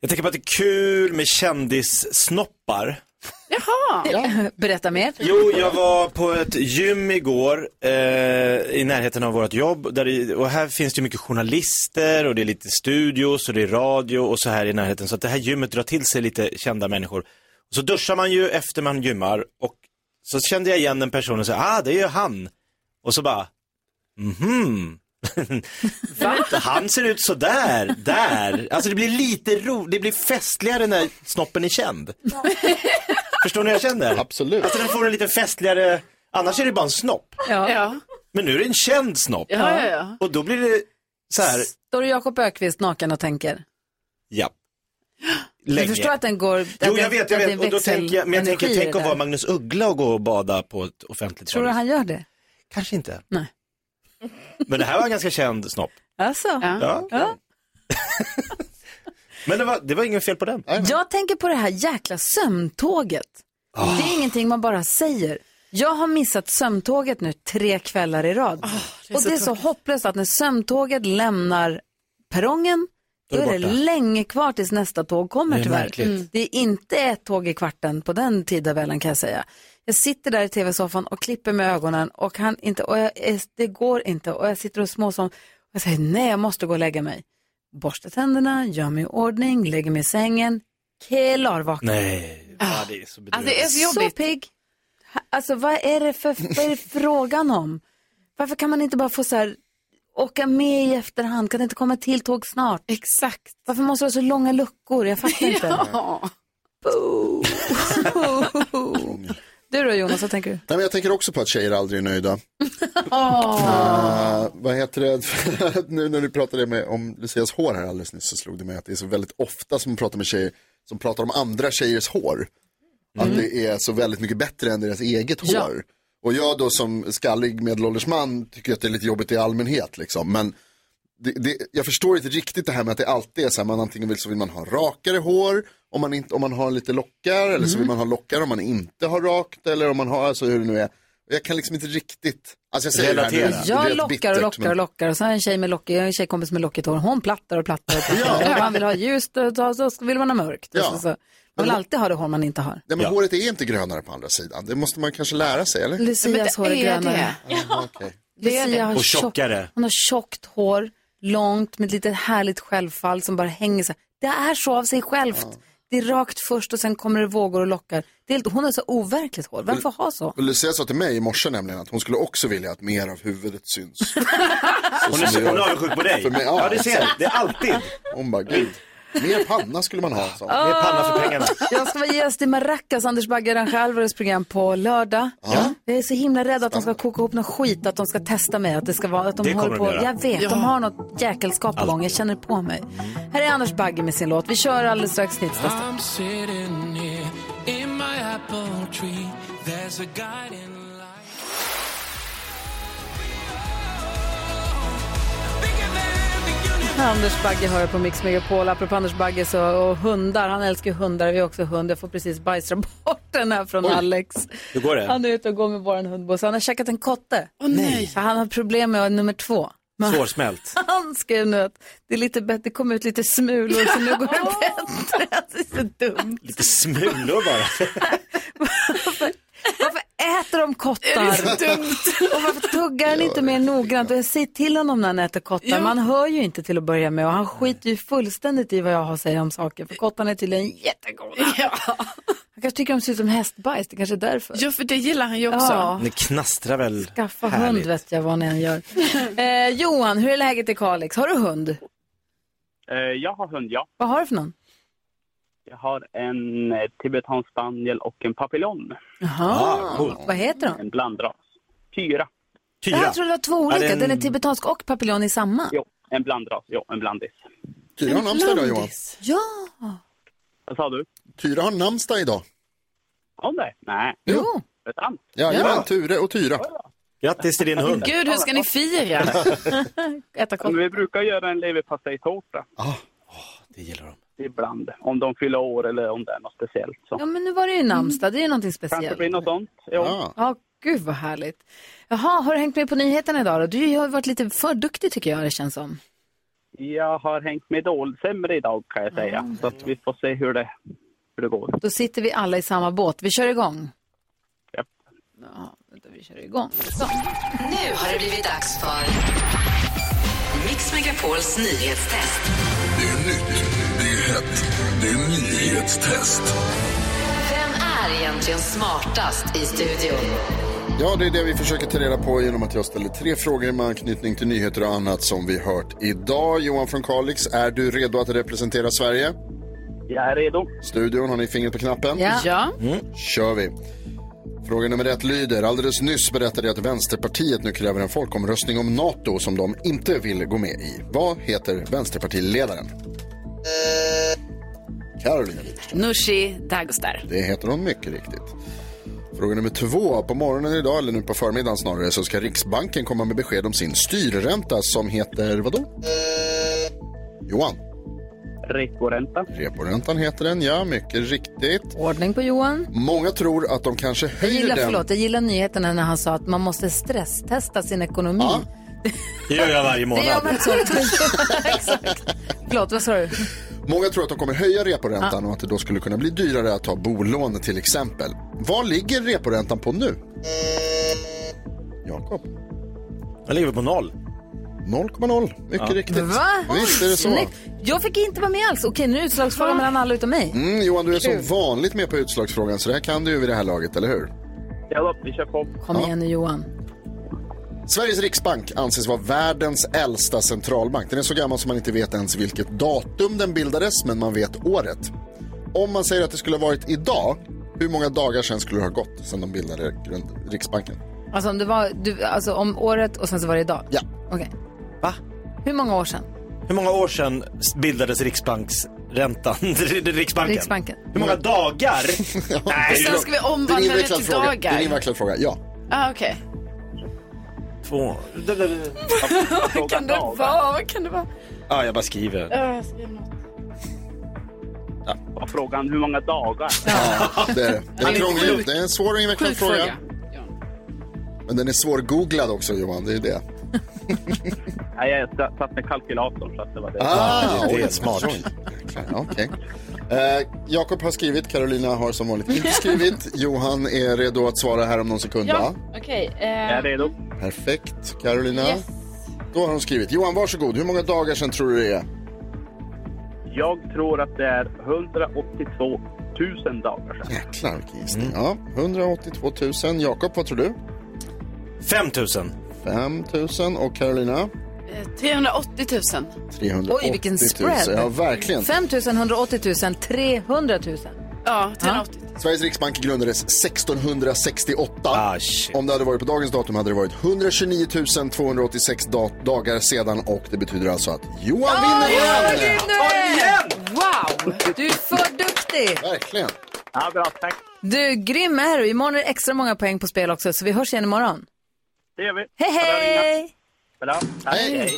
Speaker 3: Jag tänker på att det är kul med kändissnoppar.
Speaker 4: Jaha!
Speaker 1: Berätta mer.
Speaker 3: Jo, jag var på ett gym igår eh, i närheten av vårt jobb. Där det, och här finns det ju mycket journalister och det är lite studios och det är radio och så här i närheten. Så att det här gymmet drar till sig lite kända människor. Så duschar man ju efter man gymmar och så kände jag igen den personen och sa, ah det är ju han. Och så bara, mhm, Han ser ut sådär, där. Alltså det blir lite ro, det blir festligare när snoppen är känd. Förstår ni hur jag känner? Absolut. Alltså den får en lite festligare, annars är det bara en snopp.
Speaker 1: Ja.
Speaker 3: Men nu är det en känd snopp.
Speaker 1: Ja, ja, ja.
Speaker 3: Och då blir det så här,
Speaker 1: Står du Jakob Ökvist naken och tänker?
Speaker 3: ja.
Speaker 1: Du förstår att den går...
Speaker 3: Jo,
Speaker 1: att
Speaker 3: jag
Speaker 1: den-
Speaker 3: vet, jag
Speaker 1: att
Speaker 3: vet.
Speaker 1: det är
Speaker 3: Och då tänker jag, men jag tänker,
Speaker 1: växelenergi i
Speaker 3: tänk att
Speaker 1: det
Speaker 3: vara
Speaker 1: där.
Speaker 3: Magnus Uggla och gå och bada på ett offentligt
Speaker 1: Tror du han gör det?
Speaker 3: Kanske inte.
Speaker 1: Nej.
Speaker 3: Men det här var en ganska känd snopp.
Speaker 1: Alltså?
Speaker 3: Ja.
Speaker 1: ja.
Speaker 3: Men det var, det var ingen fel på den.
Speaker 1: Jag tänker på det här jäkla sömntåget.
Speaker 5: Ah.
Speaker 1: Det är ingenting man bara säger. Jag har missat sömntåget nu tre kvällar i rad.
Speaker 5: Ah, det är
Speaker 1: och
Speaker 5: så
Speaker 1: det är så
Speaker 5: tråkigt.
Speaker 1: hopplöst att när sömtåget lämnar perrongen,
Speaker 5: Då
Speaker 1: då
Speaker 5: är
Speaker 1: är
Speaker 5: det
Speaker 1: det
Speaker 5: borta.
Speaker 1: länge kvar tills nästa tåg
Speaker 5: Det
Speaker 1: kommer
Speaker 5: är
Speaker 1: tyvärr.
Speaker 5: märkligt. Mm.
Speaker 1: Det är inte ett tåg i kvarten på den tidtabellen kan jag säga. Jag sitter där i tv-soffan och klipper med ögonen och, han inte, och jag, är- det går inte och jag sitter och småsom och jag säger nej jag måste gå och lägga mig. Borstar tänderna, gör mig i ordning, lägger mig i sängen, klarvaken.
Speaker 3: Nej,
Speaker 1: Ah.
Speaker 3: ja, det är
Speaker 1: Alltså,
Speaker 3: så
Speaker 4: Alltså,
Speaker 3: bedrövligt.
Speaker 1: Så pigg. Ha- Alltså vad är det för, vad är det frågan om? Varför kan man inte bara få så här, åka med i efterhand? Kan det inte komma till tåg snart?
Speaker 4: Exakt.
Speaker 1: Varför måste det vara så långa luckor? Jag fattar inte.
Speaker 4: Ja.
Speaker 1: Du då Jonas, vad tänker du?
Speaker 2: Nej, men jag tänker också på att tjejer aldrig är nöjda. Eh, vad heter det, nu när du pratade med, om Lucias hår här alldeles nyss så slog det mig att det är så väldigt ofta som man pratar med tjejer som pratar om andra tjejers hår.
Speaker 1: Mm.
Speaker 2: Att det är så väldigt mycket bättre än deras eget
Speaker 14: Ja.
Speaker 2: hår. Och jag då som skallig medelålders man tycker att det är lite jobbigt i allmänhet liksom. Men det, det, jag förstår inte riktigt det här med att det alltid är så här, man antingen vill så vill man ha rakare hår om man, inte, om man har lite lockar eller
Speaker 1: Mm.
Speaker 2: så vill man ha lockar om man inte har rakt eller om man har, alltså hur det nu är. Jag kan liksom inte riktigt, alltså jag säger det här nu, det är
Speaker 1: Jag
Speaker 2: helt
Speaker 1: lockar
Speaker 2: bittert,
Speaker 1: och lockar och
Speaker 2: men-
Speaker 1: lockar och så har jag en tjej med lockigt, jag har en tjejkompis med lockigt hår, hon plattar och plattar och plattar.
Speaker 2: Ja.
Speaker 1: Man vill ha ljust och så- så vill man ha mörkt. Och
Speaker 2: Ja.
Speaker 1: Så, så. Man vill alltid ha det hår man inte har.
Speaker 2: Nej men håret är inte grönare på andra sidan, det måste man kanske lära sig eller?
Speaker 1: Lucias hår är grönare.
Speaker 2: Ja, okej.
Speaker 1: Lucia har
Speaker 2: Och
Speaker 1: tjockt-
Speaker 2: tjockare.
Speaker 1: hon har tjockt hår, långt med ett litet härligt självfall som bara hänger så här. Det är så av sig självt. Det är rakt först och sen kommer det vågor och lockar. Det är, helt- hon har så overkligt hår. Varför ha så?
Speaker 2: Och Lucia sa till mig i morse nämligen att hon skulle också vilja att mer av huvudet syns. Så
Speaker 3: Hon är
Speaker 2: som
Speaker 3: så
Speaker 2: det gör.
Speaker 3: avundsjuk på dig.
Speaker 2: För mig,
Speaker 3: Ja, det ser jag. Det är alltid.
Speaker 2: Hon bara, gud, mer panna skulle man ha. Så.
Speaker 1: Jag ska vara gäst i Maracas, Anders Bagge Orange Alvarez program på lördag.
Speaker 2: Ja.
Speaker 1: Jag är så himla rädd att de ska koka ihop något skit, att de ska testa mig, att det ska vara, att de
Speaker 5: Det kommer
Speaker 1: håller på.
Speaker 5: de göra.
Speaker 1: jag vet,
Speaker 5: Ja.
Speaker 1: de har något jäkelskap på gång, jag känner det på mig. Här är Anders Bagge med sin låt. Vi kör alldeles strax Snitsnack.
Speaker 15: I'm sitting here in my apple tree. There's a guide in
Speaker 1: Anders Bagge hör på Mix Megapol. Apropå Anders Bagge så, och hundar, han älskar ju hundar. Vi har också hund. Jag får precis bajsrapporten här från
Speaker 3: Oj.
Speaker 1: Alex.
Speaker 3: Hur går det?
Speaker 1: Han är ute och går med vår hundbuss. Han har käkat en kotte. nej. Så han har problem med nummer två. Men
Speaker 3: Svårsmält.
Speaker 1: han skrev nu att det, är lite bättre, det kom ut lite smulor så nu går det bättre. Alltså, det är så dumt.
Speaker 3: Lite smulor bara.
Speaker 1: Äter de kottar?
Speaker 3: Är det så dumt?
Speaker 1: Och varför tuggar han inte mer noggrant? Och jag säger till honom när han äter kottar.
Speaker 5: Ja.
Speaker 1: Man hör ju inte till att börja med och han skiter ju fullständigt i vad jag har att säga om saker. För kottarna är tydligen jättegoda. Han kanske tycker de ser ut som hästbajs, det kanske är därför.
Speaker 4: Ja, för det gillar han ju
Speaker 1: också.
Speaker 3: Det knastrar väl.
Speaker 1: Ah. Skaffa hund vet jag vad ni än gör. Eh, Johan, hur är läget i Kalix? Har du hund?
Speaker 16: Eh, Jag har hund, ja.
Speaker 1: Vad har du för någon?
Speaker 16: Jag har en eh, tibetansk spaniel och en papillon.
Speaker 1: Jaha. Vad heter de?
Speaker 16: En blandras. Tyra.
Speaker 1: Jag trodde det var två
Speaker 16: Ja,
Speaker 1: olika.
Speaker 16: det är en-
Speaker 1: Den är tibetansk och papillon i samma.
Speaker 16: Jo, en blandras. Jo, en blandis.
Speaker 2: Tyra har namnsdag idag Johan.
Speaker 1: Ja.
Speaker 16: Vad sa du?
Speaker 2: Tyra har namnsdag idag.
Speaker 16: Om det? Nej.
Speaker 1: Jo.
Speaker 16: Det är sant.
Speaker 2: Jajamän, Ture och Tyra.
Speaker 3: Grattis till din
Speaker 16: hund.
Speaker 4: Gud, hur ska ni fira?
Speaker 1: Äta
Speaker 16: Men vi brukar göra en leverpastejtårta.
Speaker 2: Ah.
Speaker 16: det gillar de. Ibland. Om de fyller år eller om det är något speciellt. Så.
Speaker 1: Ja, men nu var det ju namnsdag. Det är ju någonting speciellt.
Speaker 16: Kanske blir något sånt. Jo.
Speaker 1: Ja, gud vad härligt. Jaha, har du hängt med på nyheterna idag då? Du har ju varit lite för duktig tycker jag det känns som.
Speaker 16: Jag har hängt med dåligt sämre idag kan jag säga.
Speaker 8: Mm.
Speaker 16: Så att vi får se hur det, hur det går.
Speaker 1: Då sitter vi alla i samma båt. Vi kör igång. Ja, vänta, vi kör igång. Så.
Speaker 17: Nu har det blivit dags för Mix Megapols nyhetstest.
Speaker 12: Det är nytt, det är hett, det är nyhetstest.
Speaker 17: Vem är egentligen smartast i studion?
Speaker 2: Ja, det är det vi försöker ta reda på genom att jag ställer tre frågor med anknytning till nyheter och annat som vi hört idag. Johan från Kalix, är du redo att representera Sverige?
Speaker 16: Jag är redo.
Speaker 2: Studion, har ni fingret på knappen?
Speaker 4: Ja. Ja.
Speaker 2: Mm. kör vi. Fråga nummer ett lyder. Alldeles nyss berättade jag att Vänsterpartiet nu kräver en folkomröstning om NATO som de inte vill gå med i. Vad heter Vänsterpartiledaren? Carolina Widerström.
Speaker 4: Nooshi Dagostar.
Speaker 2: Det heter hon mycket riktigt. Fråga nummer två. På morgonen idag, eller nu på förmiddagen snarare, så ska Riksbanken komma med besked om sin styrränta som heter vadå? Johan.
Speaker 16: Reporänta.
Speaker 2: Reporäntan heter den, ja. Mycket riktigt.
Speaker 1: Ordning på Johan.
Speaker 2: Många tror att de kanske
Speaker 1: Jag
Speaker 2: höjer
Speaker 1: gillar,
Speaker 2: den.
Speaker 1: förlåt, jag gillar nyheterna när han sa att man måste stresstesta sin ekonomi.
Speaker 2: Ja.
Speaker 3: Det gör jag varje
Speaker 1: Det gör man
Speaker 3: månad.
Speaker 1: också. Exakt. Förlåt, vad sa du?
Speaker 2: Många tror att de kommer höja reporäntan
Speaker 1: Ja.
Speaker 2: och att det då skulle kunna bli dyrare att ta bolån till exempel. Vad ligger reporäntan på nu? Jakob.
Speaker 3: Den ligger på noll.
Speaker 2: 0,0. Mycket
Speaker 3: Ja.
Speaker 2: riktigt.
Speaker 1: Va?
Speaker 2: Visst är det så.
Speaker 1: Snyggt. Jag fick inte vara med alls. Okej, nu är det utslagsfråga mellan alla utom mig.
Speaker 2: Mm, Johan, du är
Speaker 1: Kul.
Speaker 2: som vanligt med på utslagsfrågan så det här kan du ju vid det här laget, eller hur?
Speaker 16: Ja, vi kör på.
Speaker 1: Kom igen nu Johan.
Speaker 2: Sveriges Riksbank anses vara världens äldsta centralbank. Den är så gammal som man inte vet ens vilket datum den bildades, men man vet året. Om man säger att det skulle ha varit idag, hur många dagar sedan skulle det ha gått sedan de bildade grund- Riksbanken?
Speaker 1: Alltså om, det var, du, alltså om året och sen så var det idag?
Speaker 2: Ja.
Speaker 1: Okej. Va? Hur många år sedan?
Speaker 3: Hur många år sedan bildades Riksbanksräntan? Riksbanken?
Speaker 1: Riksbanken.
Speaker 3: Hur många dagar? Nej,
Speaker 4: Sen ska vi
Speaker 2: Det är en
Speaker 4: omvandla det
Speaker 2: invecklad
Speaker 4: till
Speaker 2: fråga. Det är en
Speaker 4: dagar.
Speaker 2: invecklad fråga, ja.
Speaker 4: Ah, okej.
Speaker 3: två.
Speaker 4: Vad kan det vara? Vad kan det vara?
Speaker 3: Ja, Ah, jag bara skriver.
Speaker 4: Ja, jag skriver något.
Speaker 16: Och Frågan hur många dagar?
Speaker 2: Det är, det är krångligt. Det är en svår och invecklad
Speaker 16: Sjuk
Speaker 2: fråga.
Speaker 16: fråga.
Speaker 2: Men den är svårgooglad också, Johan. Det är det.
Speaker 16: Nej, jag satt med kalkylatorn så att det var det.
Speaker 2: Ah, oj, oj. Ja, okej. Eh, Jakob har skrivit, Carolina har som vanligt inte skrivit. Johan är redo att svara här om någon sekund, va?
Speaker 18: okej.
Speaker 16: redo.
Speaker 2: Perfekt. Carolina,
Speaker 18: Yes.
Speaker 2: då har hon skrivit. Johan, varsågod. Hur många dagar sedan tror du det är?
Speaker 16: Jag tror att det är 182 000 dagar sedan.
Speaker 2: Jäklar, vilken gissning. Ja, 182 000. Jakob, vad tror du?
Speaker 3: 5 000.
Speaker 2: 5 000. Och Carolina?
Speaker 4: Eh, 380 000.
Speaker 2: 380
Speaker 1: Oj, vilken
Speaker 2: 000.
Speaker 1: spread.
Speaker 2: Ja, verkligen.
Speaker 1: 5 180 000, 300 000.
Speaker 4: Ja,
Speaker 1: 380
Speaker 2: Sveriges Riksbank grundades 1668.
Speaker 3: Ah,
Speaker 2: Om det hade varit på dagens datum hade det varit 129 286 da- dagar sedan och det betyder alltså att Johan vinner
Speaker 1: Johan
Speaker 2: igen!
Speaker 1: vinner! Wow, du är för duktig!
Speaker 2: Verkligen.
Speaker 16: Ja, bra. Tack.
Speaker 1: Du, grym är du. Imorgon är det extra många poäng på spel också, så vi hörs igen imorgon.
Speaker 16: Det gör vi.
Speaker 1: Hej, hej!
Speaker 16: Bra. Tack.
Speaker 1: Hej.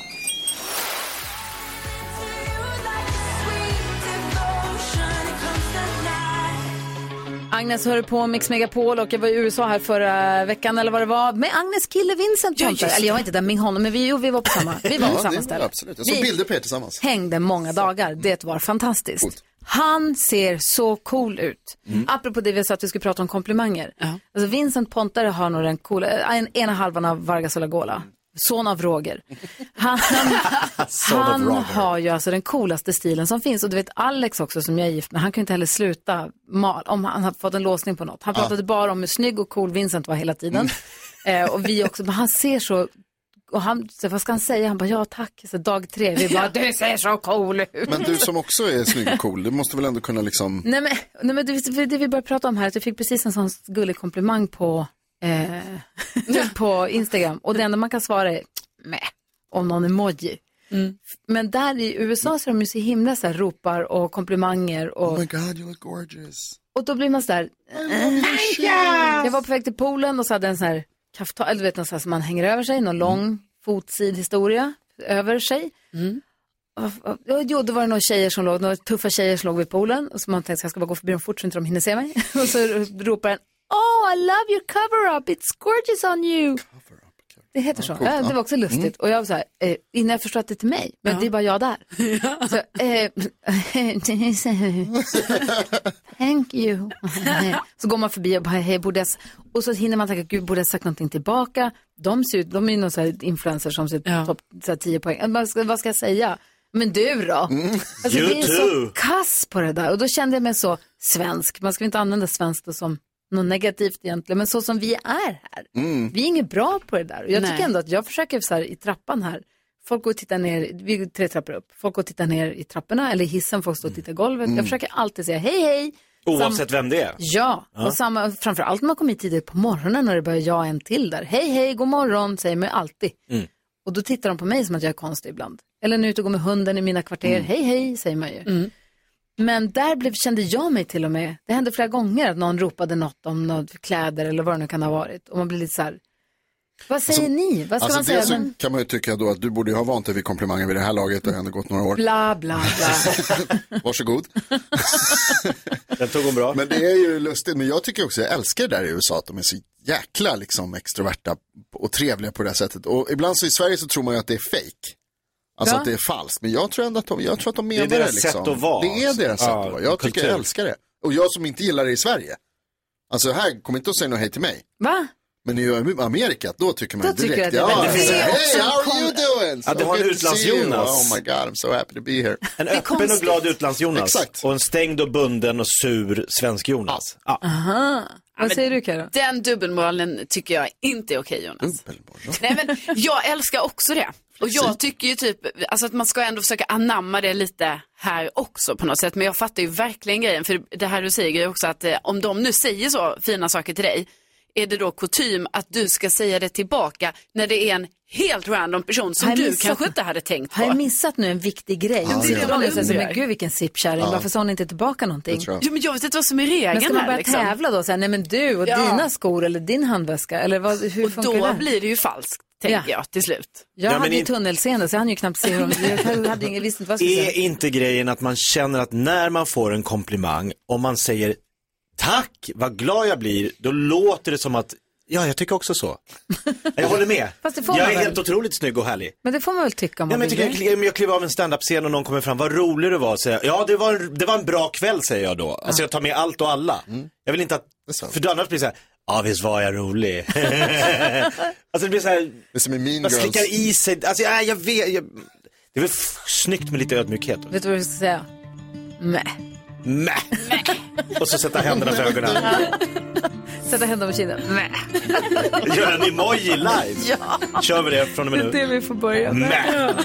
Speaker 1: Agnes hör på Mix Megapol och jag var i USA här förra veckan eller vad det var med Agnes kille Vincent
Speaker 2: Ja,
Speaker 1: Tomter.
Speaker 2: just det.
Speaker 1: Eller jag var inte där med honom men vi, jo, vi var på samma, vi var på
Speaker 2: Ja, det
Speaker 1: samma
Speaker 2: är
Speaker 1: ställe.
Speaker 2: Absolut. Jag såg
Speaker 1: Vi-
Speaker 2: bilder på er tillsammans.
Speaker 1: hängde många dagar. Det var fantastiskt. Han ser så cool ut.
Speaker 2: Mm.
Speaker 1: Apropå det vi sa att vi skulle prata om komplimanger. Alltså Vincent Pontare har nog den coola, en, ena halvan av Vargas Olagola. Son av Roger. Han,
Speaker 17: Son of
Speaker 1: han
Speaker 17: Roger.
Speaker 1: har ju alltså den coolaste stilen som finns. Och du vet Alex också som jag är gift med, han kan ju inte heller sluta mal om han har fått en låsning på något. Han
Speaker 17: Ja.
Speaker 1: pratade bara om hur snygg och cool Vincent var hela tiden.
Speaker 17: Mm.
Speaker 1: Eh, och vi också, men han ser så, och han, så, vad ska han säga? Han bara ja tack, så dag tre, vi bara du ser så cool ut.
Speaker 2: Men du som också är snygg och cool, du måste väl ändå kunna liksom...
Speaker 1: Nej men, nej, men det, det vi började prata om här, att jag fick precis en sån gullig komplimang på, eh, på Instagram. Och det enda man kan svara är meh, om någon emoji. Men där i USA så är de ju så himla så här ropar och komplimanger och...
Speaker 2: Oh my god, you look gorgeous.
Speaker 1: Och då blir man så där...
Speaker 17: Oh,
Speaker 1: Jag var på väg till poolen och så hade jag en sån här kaftan, eller du vet någon sån här som man hänger över sig,
Speaker 17: Mm.
Speaker 1: någon lång fotsidhistoria över sig.
Speaker 17: Mm.
Speaker 1: Ja, Jo, då var det några tjejer som låg, några tuffa tjejer som låg vid poolen och så man tänkte jag ska bara gå förbi dem fort så inte de hinner se mig. Och så ropar en, oh I love your cover up, it's gorgeous on you. Det heter så.
Speaker 17: coolt,
Speaker 1: ja, det
Speaker 17: ja.
Speaker 1: var också lustigt.
Speaker 17: Mm.
Speaker 1: Och jag var så här, eh, innan jag förstod att det är till mig, men det är bara jag där. Så, eh, thank you. så går man förbi och bara, hej, borde jag... s-" Och så hinner man tänka, gud, borde jag sagt någonting tillbaka? De ser ut, de är ju någon så här influencer som ser topp, så här 10 poäng. Eh, Vad ska, vad ska jag säga? Men du då? Alltså,
Speaker 17: You
Speaker 1: det är så
Speaker 17: too.
Speaker 1: kass på det där. Och då kände jag mig så svensk. Man ska väl inte använda svenskt då som något negativt egentligen, men så som vi är här.
Speaker 2: Mm.
Speaker 1: Vi är inget bra på det där. Och jag
Speaker 2: Nej.
Speaker 1: tycker ändå att jag försöker så här, i trappan här, folk går och tittar ner, vi är tre trappor upp, folk går och tittar ner i trapporna eller i hissen, folk står och tittar i golvet.
Speaker 3: Mm.
Speaker 1: Jag försöker alltid säga hej hej.
Speaker 3: Oavsett vem det är?
Speaker 1: Ja,
Speaker 3: Ja.
Speaker 1: och samma, framförallt när man kommer hit tidigt på morgonen när det börjar jag en till där. Hej hej, god morgon, säger man ju alltid.
Speaker 3: Mm.
Speaker 1: Och då tittar de på mig som att jag är konstig ibland. Eller när jag är ute och går med hunden i mina kvarter,
Speaker 19: Mm.
Speaker 1: hej hej, säger man ju. Men där blev, kände jag mig till och med, det hände flera gånger att någon ropade något om något kläder eller vad det nu kan ha varit. Och man blir lite så här, vad säger
Speaker 2: Alltså,
Speaker 1: ni? Vad ska
Speaker 2: alltså
Speaker 1: man säga?
Speaker 2: dels så
Speaker 1: Men,
Speaker 2: kan man ju tycka då att du borde ju ha vant dig vid komplimanger vid det här laget, det har ändå gått några år.
Speaker 1: bla, bla, bla.
Speaker 2: Varsågod.
Speaker 3: Den tog hon bra.
Speaker 2: Men det är ju lustigt, men jag tycker också, jag älskar det där i USA, att de är så jäkla liksom extroverta och trevliga på det här sättet. Och ibland så i Sverige så tror man ju att det är fake. Alltså
Speaker 3: Ja.
Speaker 2: att det är falskt, men jag tror ändå att de, jag tror att de
Speaker 3: Det är
Speaker 2: menar
Speaker 3: deras
Speaker 2: liksom.
Speaker 3: sätt att vara.
Speaker 2: Det är deras sätt
Speaker 3: Ja,
Speaker 2: att vara. Jag tycker jag
Speaker 3: kultur.
Speaker 2: älskar det. Och jag som inte gillar det i Sverige. Alltså här, kom inte och säg något hej till mig.
Speaker 1: Va?
Speaker 2: Men i Amerika, då tycker man
Speaker 1: Då
Speaker 2: ju direkt.
Speaker 1: tycker jag att det är
Speaker 2: ja,
Speaker 1: väldigt-
Speaker 2: så här,
Speaker 1: Det är också
Speaker 2: hey,
Speaker 1: en
Speaker 2: how are
Speaker 1: kon-
Speaker 2: you doing?
Speaker 3: Ja, det har en
Speaker 2: good to see you.
Speaker 3: utlands-Jonas.
Speaker 2: Oh my god, I'm so happy to be here.
Speaker 3: En öppen och glad utlands-Jonas.
Speaker 2: Exakt.
Speaker 3: Och en stängd och bunden och sur svensk-Jonas. Ja.
Speaker 1: Aha. Vad säger du Karo?
Speaker 4: Den dubbelmoralen tycker jag inte är okej Jonas. Nej, men jag älskar också det. Och jag tycker ju typ alltså att man ska ändå försöka anamma det lite här också på något sätt. Men jag fattar ju verkligen grejen. För det här du säger är också att eh, om de nu säger så fina saker till dig. Är det då kutym att du ska säga det tillbaka när det är en helt random person som
Speaker 1: Har jag
Speaker 4: du
Speaker 1: missat-
Speaker 4: kanske inte hade tänkt
Speaker 1: Har jag
Speaker 4: på?
Speaker 1: missat nu en viktig grej?
Speaker 4: Ja,
Speaker 1: Och så
Speaker 4: det
Speaker 1: sitter
Speaker 4: är
Speaker 1: man
Speaker 4: det.
Speaker 1: och säger så,
Speaker 4: Ja.
Speaker 1: men gud vilken sippkärring,
Speaker 4: Ja.
Speaker 1: varför sa hon inte tillbaka någonting?
Speaker 4: Jo, men jag vet inte vad som är regeln
Speaker 1: Men ska man
Speaker 4: här. liksom.
Speaker 1: börja tävla då? Så här, nej men du och
Speaker 4: Ja.
Speaker 1: dina skor eller din handväska eller vad, hur
Speaker 4: Och
Speaker 1: funkar
Speaker 4: då
Speaker 1: det?
Speaker 4: blir det ju falskt, tänker
Speaker 1: Ja.
Speaker 4: jag till slut.
Speaker 1: Jag
Speaker 3: Ja, men
Speaker 1: hade ju
Speaker 3: in-
Speaker 1: tunnelseende så jag hann ju knappt se hur de, jag hade ju ingen, visste inte vad jag skulle
Speaker 3: Är
Speaker 1: säga.
Speaker 3: inte grejen att man känner att när man får en komplimang, om man säger tack, vad glad jag blir, då låter det som att, ja jag tycker också så. Jag håller med.
Speaker 1: Fast det får
Speaker 3: Jag
Speaker 1: man
Speaker 3: är
Speaker 1: väl?
Speaker 3: helt otroligt snygg och härlig.
Speaker 1: Men det får man väl tycka om
Speaker 3: Ja,
Speaker 1: man
Speaker 3: men jag,
Speaker 1: vill.
Speaker 3: tycker jag, jag klev av en standup-scen och någon kommer fram, vad rolig du var, säger jag. Ja, det var, en- det var en bra kväll, säger jag då. Alltså jag tar med allt och alla.
Speaker 1: Mm.
Speaker 3: Jag vill inte att, för då annars blir det så här, ja visst var jag rolig. alltså det blir så här,
Speaker 2: det som är mean
Speaker 3: man
Speaker 2: Girls.
Speaker 3: slickar i sig, alltså jag, jag vet, jag, det är väl f- snyggt med lite ödmjukhet.
Speaker 1: Vet du vad du ska säga? Mäh.
Speaker 3: Mäh. Och så sätta händerna för ögonen.
Speaker 1: Sätta händerna på kinden. Mäh.
Speaker 3: Gör en emoji live.
Speaker 1: Ja.
Speaker 3: Kör vi det från och
Speaker 1: Det är
Speaker 3: med
Speaker 1: det
Speaker 3: nu.
Speaker 1: vi får börja med.
Speaker 3: Mäh.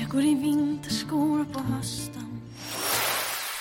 Speaker 20: Jag går i vinterskor på hösten